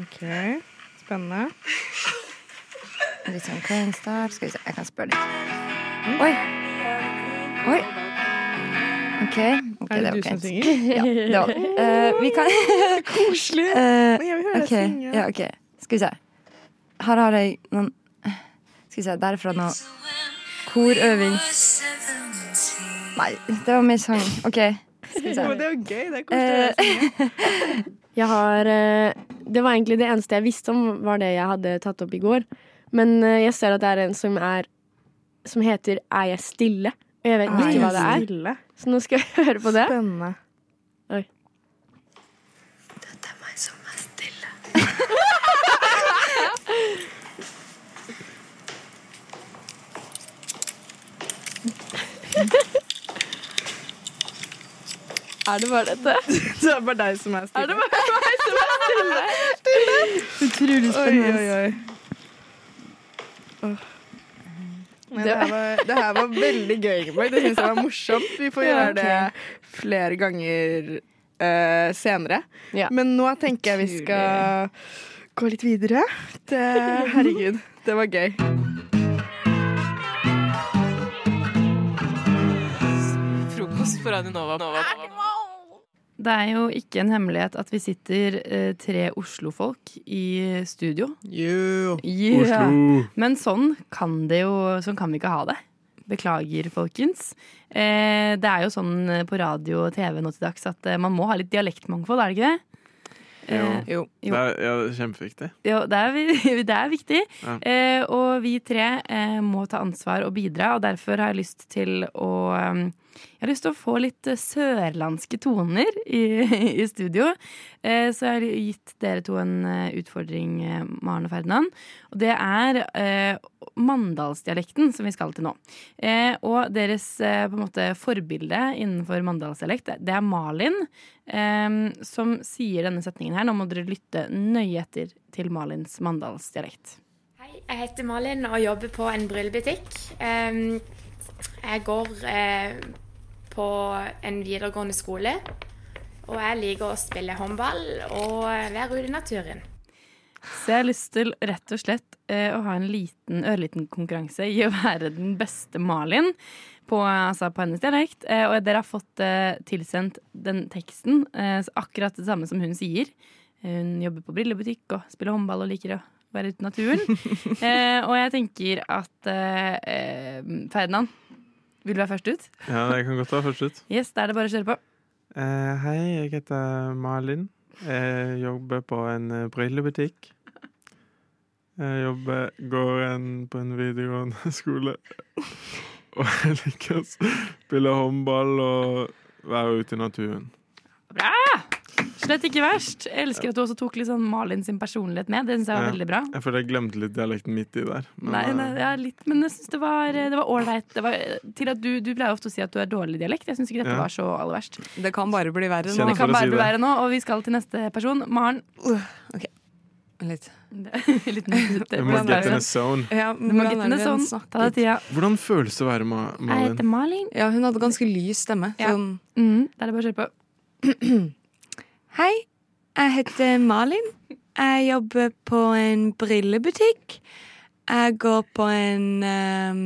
S3: OK, spennende.
S17: Litt sånn clean start. Skal vi se, jeg kan spørre litt. Oi! Oi! OK. ok,
S3: Er det
S17: var
S3: du som synger?
S17: greit. [LAUGHS] Ja. Det var, Eh, vi kan
S3: [LAUGHS]
S17: [LAUGHS]
S3: Koselig!
S17: Men
S3: jeg vil høre deg synge.
S17: Ja, ok. Skal vi se. Her har jeg noen Skal vi se, der er fra noe korøving. Nei, det var mer sang. OK. Skal vi se.
S3: Men det er jo gøy. Det er koselig.
S18: Jeg har eh, Det var egentlig det eneste jeg visste om, var det jeg hadde tatt opp i går. Men eh, jeg ser at det er en som er Som heter 'Er jeg stille?' Og jeg vet
S3: Er
S18: ikke hva det
S3: jeg
S18: er. Så nå skal jeg [LAUGHS] høre på det.
S3: Spennende.
S18: Oi.
S3: [LAUGHS] Er det bare dette? [LAUGHS] Det er bare deg som er stille. Er det bare meg som [LAUGHS] er stille?
S17: Utrolig
S3: Oi, oi,
S17: spennende.
S3: oi. Åh. Nei, det, her var, det her var veldig gøy, Ingeborg. Det syns jeg var morsomt. Vi får
S18: Ja,
S3: gjøre
S18: ok.
S3: det flere ganger eh, senere.
S18: Ja.
S3: Men nå tenker jeg vi skal gå litt videre. Det, herregud, det var gøy.
S19: Frokost på Radio Nova. Nova.
S20: Det er jo ikke en hemmelighet at vi sitter eh, tre Oslo-folk i studio. Yeah.
S19: Oslo.
S20: Men sånn kan, det jo, sånn kan vi ikke ha det. Beklager, folkens. Eh, det er jo sånn eh, på radio og TV nå til dags at eh, man må ha litt dialektmangfold, er det ikke det? Eh,
S13: Jo. Det er, ja, det er kjempeviktig.
S20: Jo, det er, vi- [LAUGHS] det er viktig.
S13: Ja.
S20: Eh, og vi tre eh, må ta ansvar og bidra, og derfor har jeg lyst til å eh, Jeg har lyst til å få litt eh, sørlandske toner i, [LAUGHS] i studio. Eh, så jeg har gitt dere to en eh, utfordring, eh, Maren og Ferdinand. Og det er eh, mandalsdialekten som vi skal til nå. Eh, og deres eh, på en måte forbilde innenfor mandalsdialekt, det er Malin eh, som sier denne setningen her. Nå må dere lytte nøye etter til Malins mandalsdialekt.
S21: Jeg heter Malin og jobber på en brillebutikk. Ehm, Jeg går eh, på en videregående skole, og jeg liker å spille håndball og være ute i naturen.
S20: Så jeg har lyst til rett og slett eh, å ha en liten, ørliten konkurranse i å være den beste Malin på, altså, på hennes dialekt. Eh, og dere har fått eh, tilsendt den teksten, eh, så akkurat det samme som hun sier. Hun jobber på brillebutikk og spiller håndball og liker å være ute i naturen. eh, og jeg tenker at eh, eh, Ferdinand, vil du være først ut?
S13: Ja, det kan godt være først ut.
S20: Yes, da er det bare å kjøre på.
S13: Eh, hei, jeg heter Malin. Jeg jobber på en eh, brillebutikk. Jeg jobber, går en, på en videregående [LAUGHS] skole. Og jeg liker å spille håndball og være ute i naturen.
S20: Bra! Slett ikke verst. Jeg elsker at du også tok litt sånn Malin sin personlighet med. Det synes jeg var
S13: Ja.
S20: veldig bra.
S13: Jeg føler jeg glemte litt dialekten midt i der. men,
S20: Nei,
S13: eh,
S20: nei, ja, litt, men jeg syns det var eh, det var ålreit. Det var, eh, til at du, du pleier ofte å si at du er dårlig i dialekt. Jeg syns ikke dette
S13: Ja.
S20: var så aller verst.
S7: Det kan bare bli verre
S20: Det
S7: nå.
S20: kan bare bli verre nå, og vi skal til neste person. Maren.
S13: Uh,
S20: [LAUGHS]
S7: Litt.
S20: Liten minutt.
S13: Jeg må
S20: Hvordan
S13: get
S20: er
S13: in
S20: det? sånn
S13: a zone.
S7: Ja,
S20: Du må
S7: hvordan
S20: get
S7: er
S20: in
S7: det
S20: a
S7: den
S20: zone. Ta deg tida.
S13: Hvordan føles det å være Ma
S20: Jeg heter
S13: Malin?
S20: Malin.
S7: Ja, hun hadde ganske lys stemme.
S17: Ja.
S7: Sånn
S20: Mm, da er det bare å kjøre på.
S17: [CLEARS THROAT] Hei, jeg heter Malin. Jeg jobber på en brillebutikk. Jeg går på en, ehm,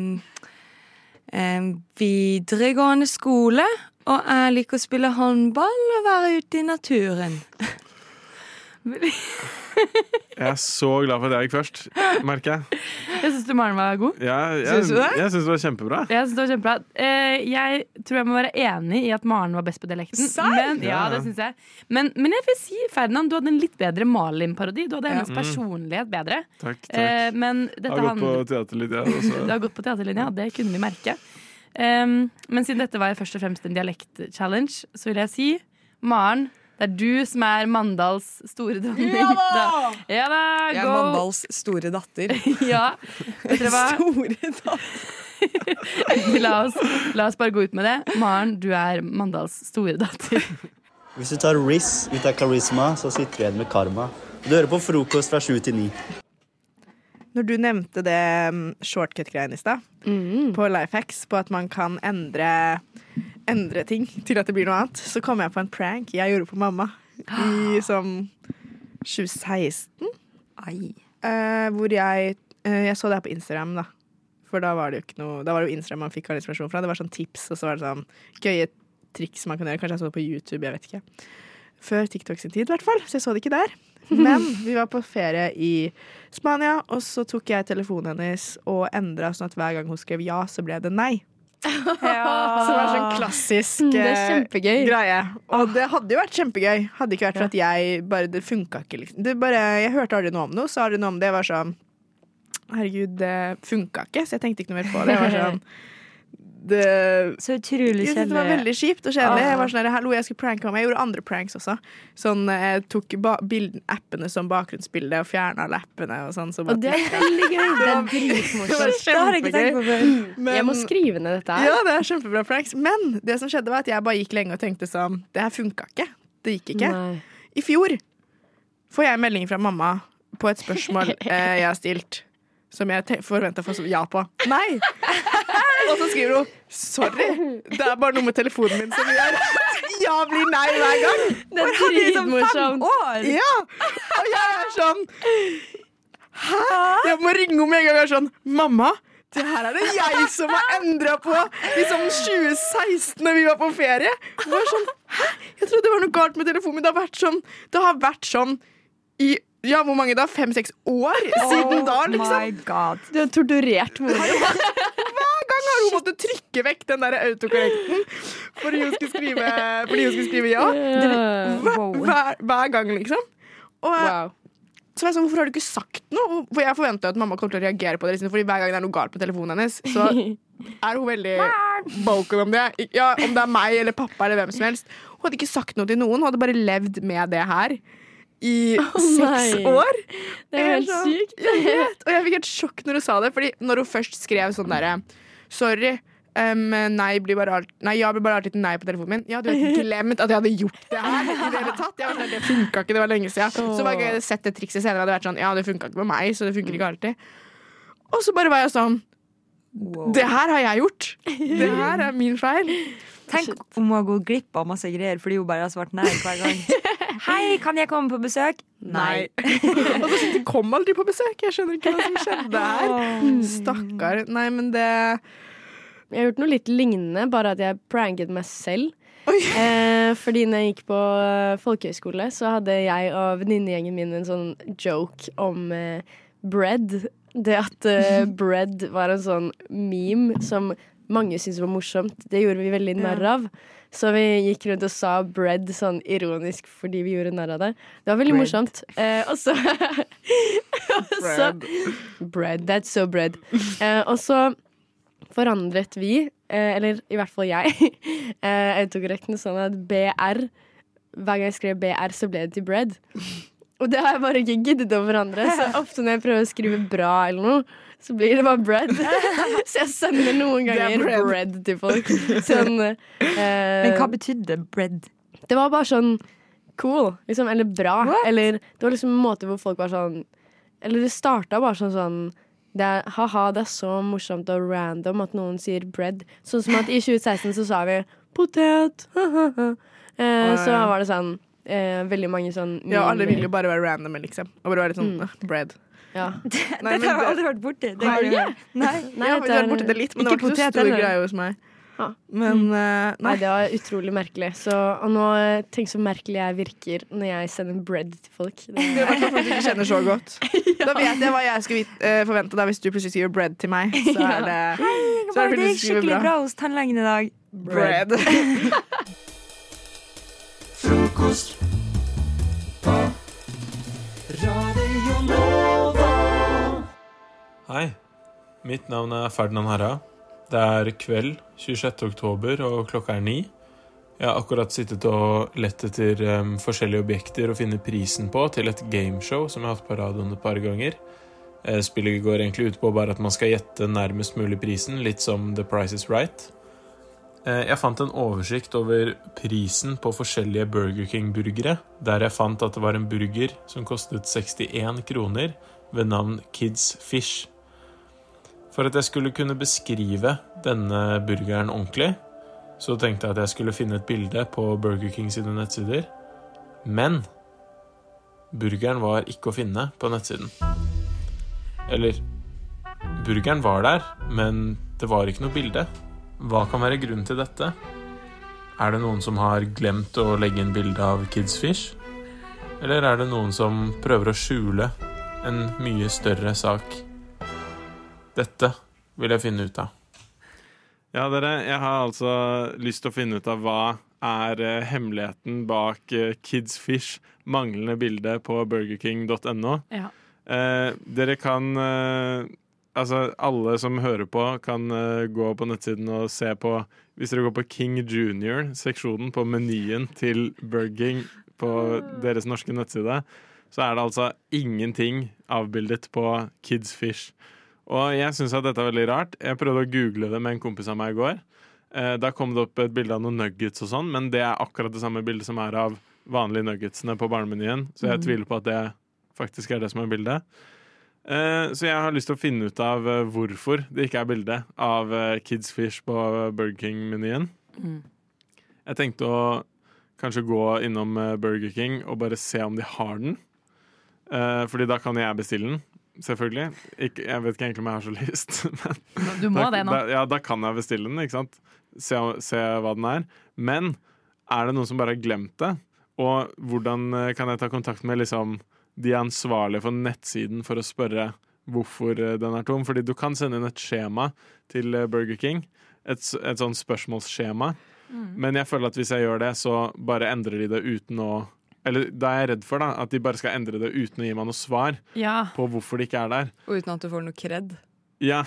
S17: em, videregående skole, og jeg liker å spille håndball og være ute i naturen.
S13: Jeg er så glad for at jeg gikk først, merker jeg.
S20: Jeg syns du Maren var god.
S13: Ja, jeg,
S20: Syns du det?
S13: jeg syns det var kjempebra.
S20: Jeg synes det var kjempebra Eh, Jeg tror jeg må være enig i at Maren var best på dialekten.
S13: Serr?
S20: Men, ja,
S13: Ja, ja.
S20: det synes jeg. Men, men jeg vil si, Ferdinand, du hadde en litt bedre Malin-parodi. Du hadde hennes
S13: Mm.
S20: personlighet bedre.
S13: Takk, Mm. takk.
S20: Eh, men
S13: Jeg
S20: dette
S13: har gått på
S20: handler-
S13: teater litt, jeg også.
S20: Du har gått på teaterlinja, det kunne vi merke. Um, men siden dette var først og fremst en dialekt-challenge, så vil jeg si Maren, det er du som er Mandals store dronning.
S7: Ja da!
S20: ja da
S7: Jeg er
S20: go!
S7: Mandals store
S17: [LAUGHS]
S7: datter.
S20: ja.
S7: [LAUGHS]
S20: Vet dere hva?
S7: Store
S20: datter. [LAUGHS] la, oss, la oss bare gå ut med det. Maren, du er Mandals store datter.
S22: Hvis du tar Riz ut av karisma, så sitter du igjen med karma. Du hører på frokost fra sju til ni.
S3: Når du nevnte det mm, shortcut-greien i stad,
S18: Mm.
S3: på Lifehacks, på at man kan endre, endre ting til at det blir noe annet, så kom jeg på en prank jeg gjorde på mamma i sånn 2016. Eh, hvor jeg eh, Jeg så det her på Instagram, da. For da var det jo ikke noe Da var det jo Instagram man fikk all inspirasjon fra. Det var sånn tips, og så var det sånn gøye triks man kan gjøre. Kanskje jeg så det på YouTube, jeg vet ikke. Før TikTok sin tid, i hvert fall. Så jeg så det ikke der. Men vi var på ferie i Spania, og så tok jeg telefonen hennes og endra sånn at hver gang hun skrev ja, så ble det nei. [LAUGHS] Så det var sånn klassisk
S18: Mm, Det er
S3: eh,
S18: kjempegøy.
S3: greie. Og det hadde jo vært kjempegøy, hadde det ikke vært for at jeg bare Det funka ikke, liksom. Det bare, jeg hørte aldri noe om noe, sa aldri noe om det. Jeg var sånn Herregud, det funka ikke, så jeg tenkte ikke noe mer på det. Jeg var [LAUGHS]
S18: [LAUGHS]
S3: sånn det,
S17: så utrolig
S3: Jeg synes Det var
S17: kjedelig.
S3: veldig kjipt og kjedelig.
S17: Ah.
S3: Jeg var sånn der, hallo, jeg skulle pranke mamma. Jeg gjorde andre pranks også. Sånn, eh, jeg tok ba bilden, appene som bakgrunnsbilde og fjerna alle appene og sånn. Så bare-
S18: Og det er veldig gøy. [LAUGHS] Det er Mm.
S3: Det var
S18: dritmorsomt.
S3: kjempegøy. Men-
S18: Jeg må skrive ned dette her.
S3: Ja, det er kjempebra pranks. Men det som skjedde, var at jeg bare gikk lenge og tenkte sånn Det her funka ikke. Det gikk ikke. I fjor får jeg melding fra mamma på et spørsmål
S18: [LAUGHS]
S3: eh, jeg har stilt, som jeg forventa å få sv- ja på. Nei! Og så skriver hun sorry, det er bare noe med telefonen min som gjør at ja blir nei hver gang.
S18: Det er
S3: For hadde jeg liksom
S18: dritmorsomt.
S3: fem år. Ja. Og jeg er sånn Hæ? Jeg må ringe henne med en gang og er sånn Mamma, det her er det jeg som har endra på! Liksom 2016 da vi var på ferie. Og jeg var sånn, Hæ? Jeg trodde det var noe galt med telefonen min. Det har vært sånn, det har vært sånn i ja, hvor mange da? Fem-seks år siden
S18: Oh
S3: da, liksom.
S18: Du har torturert moren din.
S3: Hver gang har hun måttet trykke vekk den der autokorrekten fordi hun skulle skrive, fordi hun skulle skrive ja. Hver, hver, hver gang, liksom. Og, Så var jeg sånn, Hvorfor har du ikke sagt noe? For jeg forventa at mamma kom til å reagere på det. Liksom, fordi hver gang det er noe galt på telefonen hennes, så
S18: [LAUGHS]
S3: er hun veldig vocal om det. Ja, Om det er meg eller pappa eller hvem som helst. Hun hadde ikke sagt noe til noen. Hun hadde bare levd med det her i
S18: [LAUGHS] Å,
S3: seks
S18: nei.
S3: år.
S18: Det er
S3: Jeg
S18: helt
S3: sånn-
S18: sykt.
S3: [LAUGHS] Jeg vet, og jeg fikk et sjokk når hun sa det. Fordi når hun først skrev sånn derre Sorry. em, nei, blir bare alt, nei, ja blir bare alltid nei på telefonen min. Jeg hadde
S18: [LAUGHS]
S3: jo glemt at jeg hadde gjort det her. I det, hele tatt. Jeg var sånn, det funka ikke, det var lenge siden. Så hver gang jeg hadde sett det trikset senere, hadde jeg vært sånn Ja, det funka ikke med meg, så det funker ikke alltid. Og så bare var jeg sånn Det her har jeg gjort.
S17: [LAUGHS]
S3: Det her er min feil. [LAUGHS]
S17: Tenk om hun har gått glipp av masse greier fordi hun bare har svart nei hver gang. Hei, kan jeg komme på besøk?
S3: Nei. [LAUGHS] og så de kom aldri på besøk. Jeg skjønner ikke hva som skjedde her. Stakkar. Nei, men det
S18: Mm. Jeg har gjort noe litt lignende, bare at jeg pranket meg selv. [LAUGHS] Eh, fordi når jeg gikk på eh, folkehøyskole, så hadde jeg og venninnegjengen min en sånn joke om eh, bread. Det at eh, bread var en sånn meme som mange syntes var morsomt. Det gjorde vi veldig narr av. Så vi gikk rundt og sa bread sånn ironisk fordi vi gjorde narr av det. Det var veldig
S5: Bread.
S18: morsomt. Eh, og så [LAUGHS]
S5: Bread.
S18: Så, bread, that's so bread. Eh, og så forandret vi, eh, eller i hvert fall jeg, [LAUGHS] eh, autokorrekten sånn at BR Hver gang jeg skrev BR, så ble det til bread. Og det har jeg bare ikke giddet å forandre,
S17: [LAUGHS]
S18: så ofte når jeg prøver å skrive bra eller noe, så blir det bare bread.
S17: [LAUGHS]
S18: Så jeg sender noen
S17: Det er
S18: ganger
S17: bread.
S18: bread. til folk. Sånn, eh,
S17: Men hva betydde bread?
S18: det var bare sånn cool, liksom, eller bra. Eller det var liksom en måte hvor folk var sånn Eller det starta bare sånn sånn det er, Ha-ha, det er så morsomt og random at noen sier bread. Sånn som at i 2016 så sa vi potet. eh, så var det sånn eh, veldig mange sånn
S3: Ja, alle vil jo
S18: mimer.
S3: bare være randomme, liksom. Og bare være litt
S17: [LAUGHS]
S3: sånn mm. bread. [LAUGHS]
S18: Ja.
S3: Nei, men
S17: [LAUGHS] Dette har jeg
S3: det-
S17: aldri vært borti. Det
S3: Har
S17: kan
S3: du
S17: jeg-
S3: ikke?
S17: Nei.
S3: Nei, ja, vi har vært borti det litt, men det var ikke så stor greie hos meg. Men eh,
S18: Mm. Nei, det var utrolig merkelig. Så, og nå eh, Tenk så merkelig jeg virker når jeg sender bread til
S3: [LAUGHS]
S18: folk. Det,
S3: Det er i hvert fall folk du ikke kjenner så
S17: [LAUGHS]
S3: godt. Da vet jeg hva jeg skulle vit- eh, forvente da hvis du plutselig skriver bread til meg. Så
S17: [LAUGHS] Ja.
S3: er det,
S17: Hei,
S3: så er fordi
S17: bare det
S3: du
S17: gikk
S3: skriver
S17: skikkelig bra hos tannlegen i dag.
S3: Bread.
S17: Frokost.
S23: Hei, mitt navn er Ferdinand Herra. Det er kveld 26. oktober, og klokka er ni. Jeg har akkurat sittet og lett etter em, forskjellige objekter å finne prisen på til et gameshow som jeg har hatt på radioen et par ganger. Eh, Spillet går egentlig ut på bare at man skal gjette nærmest mulig prisen, litt som The Price is Right. Eh, Jeg fant en oversikt over prisen på forskjellige Burger King-burgere, der jeg fant at det var en burger som kostet 61 kroner ved navn Kids Fish. For at jeg skulle kunne beskrive denne burgeren ordentlig, så tenkte jeg at jeg skulle finne et bilde på Burger King sine nettsider. Men burgeren var ikke å finne på nettsiden. Eller Burgeren var der, men det var ikke noe bilde. Hva kan være grunnen til dette? Er det noen som har glemt å legge inn bilde av Kids Fish? Eller er det noen som prøver å skjule en mye større sak? Dette vil jeg finne ut av.
S13: Ja, dere, jeg har altså lyst til å finne ut av hva er eh, hemmeligheten bak eh, Kids Fish manglende bilde på burgerking.no.
S11: Ja.
S13: Eh, dere kan eh, Altså, alle som hører på, kan eh, gå på nettsiden og se på Hvis dere går på King Junior-seksjonen på menyen til Burging på deres norske nettside, så er det altså ingenting avbildet på Kids Fish. Og jeg syns at dette er veldig rart. Jeg prøvde å google det med en kompis av meg i går. Eh, Da kom det opp et bilde av noen nuggets og sånn, men det er akkurat det samme bildet som er av vanlige nuggetsene på barnemenyen, så jeg
S24: Mhm.
S13: tviler på at det faktisk er det som er bildet. Eh, Så jeg har lyst til å finne ut av eh, hvorfor det ikke er bilde av eh, Kids Fish på eh, Burger King-menyen.
S18: Mm.
S13: Jeg tenkte å kanskje gå innom eh, Burger King og bare se om de har den. Eh, Fordi da kan jeg bestille den, selvfølgelig. Ikke, jeg vet ikke egentlig om jeg har så [LAUGHS] lyst. Men
S11: Du må
S13: da,
S11: det nå.
S13: Da, ja, da kan jeg bestille den, ikke sant? Se, se hva den er. Men er det noen som bare har glemt det? Og hvordan eh, kan jeg ta kontakt med liksom, de ansvarlige for nettsiden for å spørre hvorfor eh, den er tom? Fordi du kan sende inn et skjema til eh, Burger King. Et, s- et sånn spørsmålsskjema.
S24: Mm.
S13: Men jeg føler at hvis jeg gjør det, så bare endrer de det uten å Eller da er jeg redd for da, at de bare skal endre det uten å gi meg noe svar
S9: Ah.
S11: Ja.
S13: på hvorfor det ikke er der.
S7: Og uten at du får noe kred.
S13: Ja.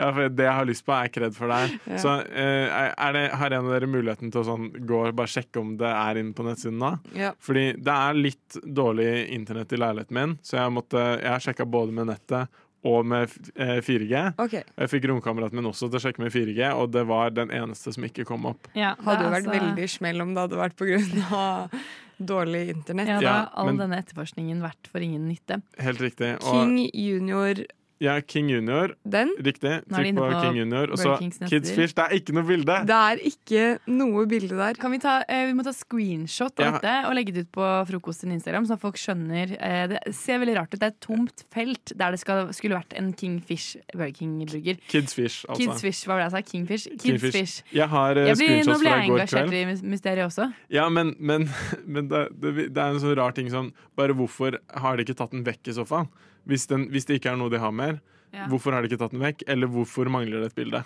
S13: ja, for det jeg har lyst på, er kred for deg.
S7: Ja.
S13: Så eh, er det, har en av dere muligheten til å sånn, gå og bare sjekke om det er inne på nettsiden da?
S7: Ja.
S13: Fordi det er litt dårlig internett i leiligheten min, så jeg, måtte, jeg har sjekka både med nettet og med eh, 4G.
S7: Ok.
S13: Og Jeg fikk romkameraten min også til å sjekke med 4G, og det var den eneste som ikke kom opp.
S7: hadde jo vært
S20: altså-
S7: veldig smell om det hadde vært på grunn av dårlig internett.
S20: Ja, da har
S13: Ja,
S20: all
S13: men-
S20: denne etterforskningen vært for ingen nytte.
S13: Helt riktig. Og
S7: King Junior
S13: Ja, King Junior.
S9: Den?
S13: Riktig.
S9: Nå er de
S13: Trykk
S9: inne
S13: på
S9: på
S13: King Junior. Og så
S9: Burger Kings nettsider.
S13: Kidsfish. Det er ikke noe bilde!
S9: Det er ikke noe bilde der.
S20: Kan vi, ta, eh, vi må ta screenshot av
S13: Ja.
S20: dette og legge det ut på frokosten Instagram, sånn at folk skjønner. Eh, det ser veldig rart ut. Det er et tomt felt der det skal, skulle vært en Kingfish Burger King-burger.
S13: Kidsfish, altså.
S20: Kidsfish, hva var det jeg sa? Kingfish?
S13: Kingfish.
S20: Kidsfish.
S13: Jeg har, eh,
S20: Jeg blir-
S13: screenshots
S20: Nå blir
S13: fra
S20: jeg
S13: i går
S20: engasjert
S13: kveld.
S20: i mys- mysteriet også.
S13: Ja, men, men, [LAUGHS] men det, det, det er en så rar ting som Bare hvorfor har de ikke tatt den vekk i så fall? Hvis, den, hvis det ikke er noe de har mer,
S20: Ja.
S13: hvorfor har de ikke tatt den vekk? Eller hvorfor mangler det et bilde?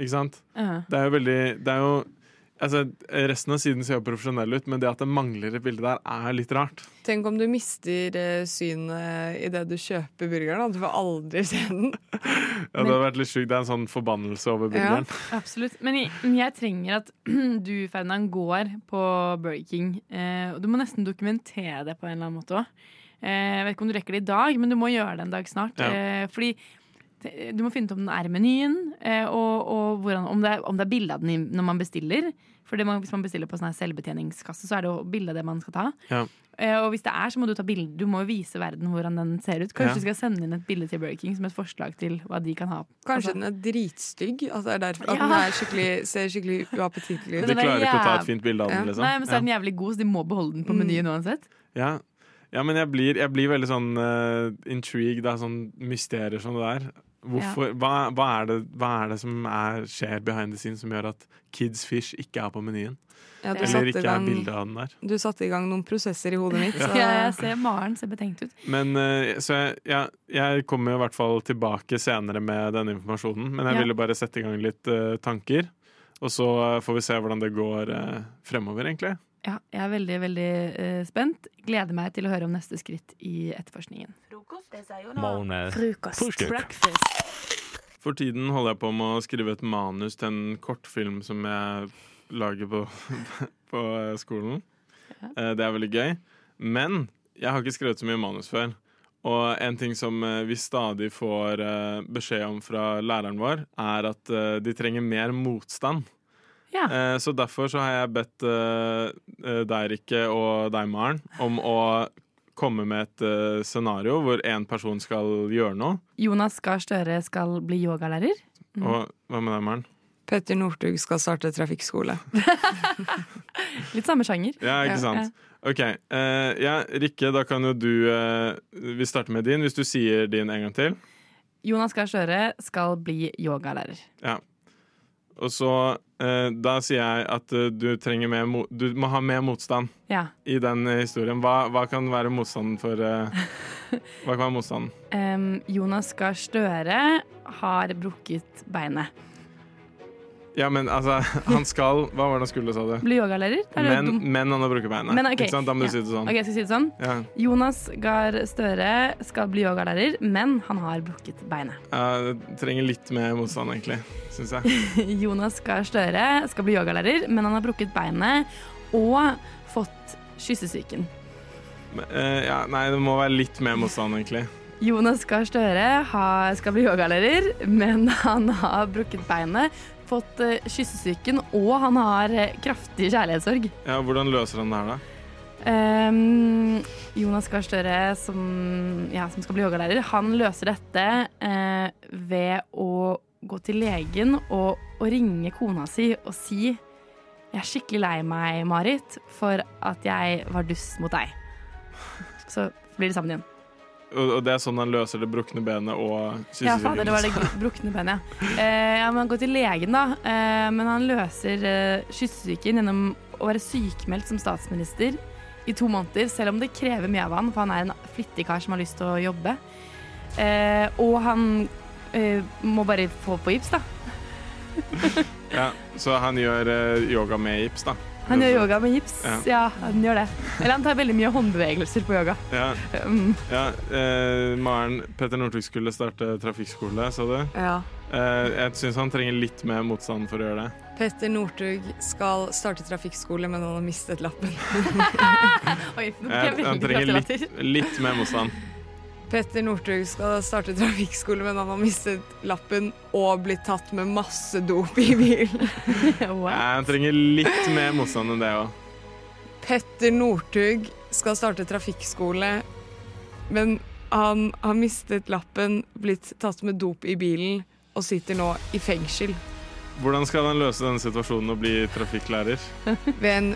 S13: Ikke sant?
S20: Ja.
S13: Det er jo veldig Det er jo Altså, resten av siden ser jo profesjonell ut, men det at det mangler et bilde der, er litt rart.
S9: Tenk om du mister eh, synet i det du kjøper burgeren. Da. Du får aldri se den.
S13: Ja, det hadde vært litt sjukt. Det er en sånn forbannelse over burgeren.
S20: Absolutt. Men jeg, men jeg trenger at [CLEARS THROAT] du, Ferdinand, går på Burger King. Eh, og du må nesten dokumentere det på en eller annen måte òg. Eh, jeg vet ikke om du rekker det i dag, men du må gjøre det en dag snart.
S9: Ja.
S20: Eh, fordi te- du må finne ut om den er i menyen, eh, og, og hvordan, om det er, om det er bilde av den i- når man bestiller. For det man, hvis man bestiller på sånn her selvbetjeningskasse, så er det jo bilde av det man skal ta.
S13: Ja.
S20: Eh, og hvis det er, så må du ta bilde. Du må jo vise verden hvordan den ser ut.
S9: Ja.
S20: Kanskje du skal sende inn et bilde til Burger King som et forslag til hva de kan ha. Altså-
S9: Kanskje den er dritstygg. At, Altså, det er derfor,
S20: Ja.
S9: at den er skikkelig, ser skikkelig uappetittlig ut.
S13: De klarer ikke å ta et fint bilde av den, liksom.
S20: Nei, men så
S13: Ja. Mm.
S20: er den jævlig god, så de må beholde den på menyen uansett.
S13: Ja, ja men jeg blir, jeg blir veldig sånn uh, intrigued av sånn mysterier som det der. Hvorfor, hva, hva, er det, hva er det som er, skjer behind the scenes som gjør at Kids Fish ikke er på menyen?
S9: Ja, du satte
S13: Eller ikke
S9: i gang-
S13: er bilde av den der.
S9: Du satte i gang noen prosesser i hodet mitt.
S13: Ja.
S9: Så.
S20: Ja, jeg ser Maren ser betenkt ut.
S13: Men, eh, så jeg, ja, jeg kommer jo i hvert fall tilbake senere med denne informasjonen. Men jeg
S20: Ja.
S13: ville bare sette i gang litt eh, tanker. Og så eh, får vi se hvordan det går eh, fremover, egentlig.
S20: Ja, jeg er veldig, veldig eh, spent. Gleder meg til å høre om neste skritt i etterforskningen. Frokost. Frokost.
S13: For tiden holder jeg på med å skrive et manus til en kortfilm som jeg lager på, [LAUGHS] på skolen. Eh, Det er veldig gøy. Men jeg har ikke skrevet så mye manus før. Og en ting som eh, vi stadig får eh, beskjed om fra læreren vår, er at eh, de trenger mer motstand. Eh, Så derfor så har jeg bedt eh, eh, deg, Rikke, og deg, Maren, om å komme med et eh, scenario hvor én person skal gjøre noe.
S20: Jonas Gahr Støre skal bli yogalærer. Mm.
S13: Og hva med deg, Maren?
S9: Petter Northug skal starte trafikkskole.
S20: Litt samme sjanger.
S13: Ja, ikke sant. Ok, eh, ja, Rikke, da kan jo du eh, Vi starter med din, hvis du sier din en gang til.
S20: Jonas Gahr Støre skal bli yogalærer.
S13: Ja. Og så eh, Da sier jeg at eh, du trenger mer mo Du må ha mer motstand
S20: Ja.
S13: i den eh, historien. Hva, hva kan være motstanden for eh, Hva kan være motstanden?
S20: Em, Jonas Gahr Støre har brukket beinet.
S13: Ja, men altså, [LAUGHS] han skal Hva var det han skulle, sa du?
S20: Bli yogalærer? Det er jo
S13: Men,
S20: dumt.
S13: men han har brukt beina.
S20: Men, ok.
S13: Ikke sant? Da må
S20: Ja.
S13: du si det sånn.
S20: Ok, jeg skal si det sånn.
S13: Ja.
S20: Jonas Gahr Støre skal bli yogalærer, men han har brukket beinet. [LAUGHS]
S13: Eh, det trenger litt mer motstand, egentlig, syns jeg.
S20: Jonas Gahr Støre skal bli yogalærer, men han har brukket beinet og fått kyssesyken.
S13: Men, eh, ja, nei, det må være litt mer motstand, egentlig.
S20: Jonas Gahr Støre har, skal bli yogalærer, men han har brukket beinet, fått eh, kyssesyken, og han har eh, kraftig kjærlighetssorg.
S13: Ja, Hvordan løser han det her, da?
S20: Ehm, Jonas Gahr Støre, som, ja, som skal bli yogalærer, han løser dette eh, ved å gå til legen og, og ringe kona si og si Jeg er skikkelig lei meg, Marit, for at jeg var dust mot deg. Så blir det sammen igjen.
S13: Og, og det er sånn han løser det brukne benet og
S20: Ja, fader, det var det
S13: sånn?
S20: gru- brukne benet. ja. Eh, ja, men han går til legen, da. Eh, men han løser eh, kyssesyken gjennom å være sykemeldt som statsminister i to måneder, selv om det krever mye av han, for han er en flittig kar som har lyst til å jobbe. Eh, og han eh, må bare få på gips, da.
S13: [LAUGHS] Ja, så han gjør eh, yoga med gips, da.
S20: Han gjør yoga med gips.
S13: Ja.
S20: Ja, han gjør det. Eller han tar veldig mye håndbevegelser på yoga.
S13: Ja.
S20: Mm.
S13: ja eh, Maren, Petter Northug skulle starte trafikkskole, sa du?
S9: Ja.
S13: Eh, jeg syns han trenger litt mer motstand for å gjøre det.
S9: Petter Northug skal starte trafikkskole, men han har mistet lappen.
S20: [LAUGHS] Oi, nå
S13: Eh, han trenger litt, litt mer motstand.
S9: Petter Northug skal starte trafikkskole, men han har mistet lappen og blitt tatt med masse dop i bilen.
S20: [LAUGHS]
S13: Eh, han trenger litt mer motstand enn det òg.
S9: Petter Northug skal starte trafikkskole, men Han har mistet lappen, blitt tatt med dop i bilen og sitter nå i fengsel
S13: Hvordan skal han løse denne situasjonen og bli trafikklærer?
S9: ved, en,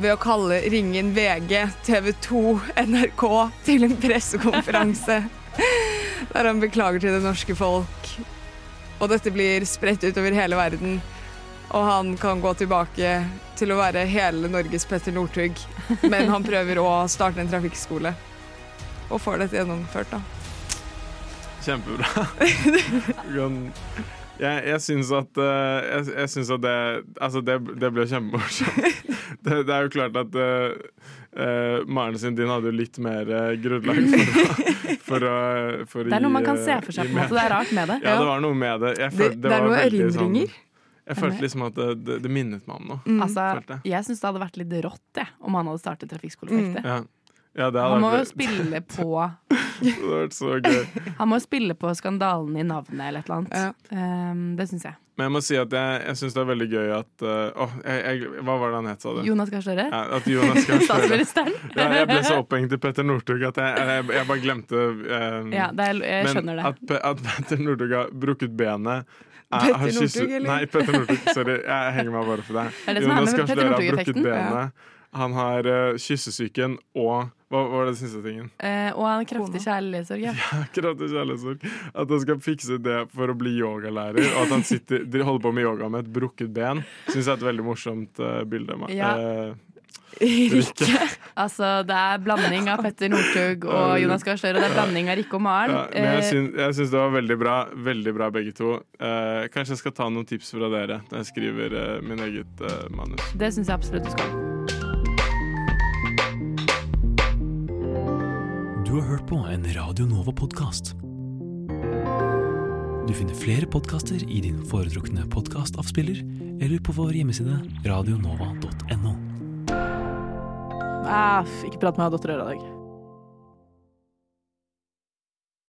S9: ved å kalle ringen VG, TV 2, NRK til en pressekonferanse [LAUGHS] der han beklager til det norske folk. Og dette blir spredt utover hele verden. Og han kan gå tilbake til å være hele Norges Petter Northug, men han prøver å starte en trafikkskole. Og får dette gjennomført, da.
S20: [LAUGHS]
S13: Kjempebra. Du kan- Jeg, jeg syns at, eh, jeg, jeg syns at det, altså det, det ble kjempemorsomt. [LAUGHS] Det, det er jo klart at eh, eh, Maren sin din hadde jo litt mer eh, grunnlag for å,
S20: [LAUGHS]
S13: for å, for å
S20: Det er noe man kan
S13: eh,
S20: se for seg,
S13: gi
S20: på en måte.
S13: mer.
S20: Det er rart med det.
S13: Ja, det var noe med det. Jeg følte,
S20: Det-
S13: det,
S20: det er
S13: var
S20: noe
S13: veldig sånn-
S20: erindringer.
S13: Jeg følte liksom at det, det, det minnet meg om noe. Følte
S20: Altså,
S13: jeg.
S20: jeg syns det hadde vært litt rått jeg, om han hadde startet Trafikkskolefeltet.
S13: Ja. Ja, det hadde
S20: Han mm. må jo
S13: vært-
S20: spille på
S13: [LAUGHS] Det hadde vært så gøy.
S20: Han må jo spille på skandalen i navnet eller et eller annet. Ehm, det syns jeg.
S13: Men jeg må si at jeg, jeg syns det er veldig gøy at eh, Åh, jeg, jeg, hva var det han het, sa du?
S20: Jonas Gahr Støre?
S13: Ja, at Jonas Gahr Støre.
S20: Statsministeren?
S13: Ja, jeg ble så opphengt i Petter Northug at jeg, jeg, jeg bare glemte eh,
S20: Ja, det er- jeg skjønner
S13: Men
S20: det.
S13: at, Pe- at Petter Northug har brukket benet er-
S20: Petter
S13: har kysset-
S20: Northug, eller?
S13: Nei, Petter Northug. Sorry, jeg henger meg bare for deg.
S20: Det er det som er
S13: Jonas
S20: med
S13: Gahr
S20: Petter
S13: Støre har brukket
S20: Northug-effekten. Ja.
S13: benet. Han har eh, kyssesyken og Hva hva var det siste tingen?
S20: Eh, og han har kraftig kjærlighetssorg. Ja.
S13: Akkurat i kjærlighetssorg. At han skal fikse det for å bli yogalærer, og at han sitter, de holder på med yoga med et brukket ben, syns jeg er et veldig morsomt eh, bilde. Ma-
S20: Ja. [LAUGHS]
S13: eh,
S20: Rikke.
S13: Rikke.
S20: Altså, det er blanding av Petter Northug og Jonas Gahr Støre. og Det er blanding av Rikke og Maren.
S13: Ja, men jeg
S20: Eh,
S13: syns, jeg syns det var veldig bra, veldig bra begge to. Eh, kanskje jeg skal ta noen tips fra dere når jeg skriver eh, min eget eh, manus.
S20: det syns jeg absolutt du skal.
S2: Du har hørt på en Radio Nova-podkast. Du finner flere podkaster i din foretrukne podkastavspiller eller på vår hjemmeside radionova.no.
S11: Ah, ikke prat med meg, dattera i dag.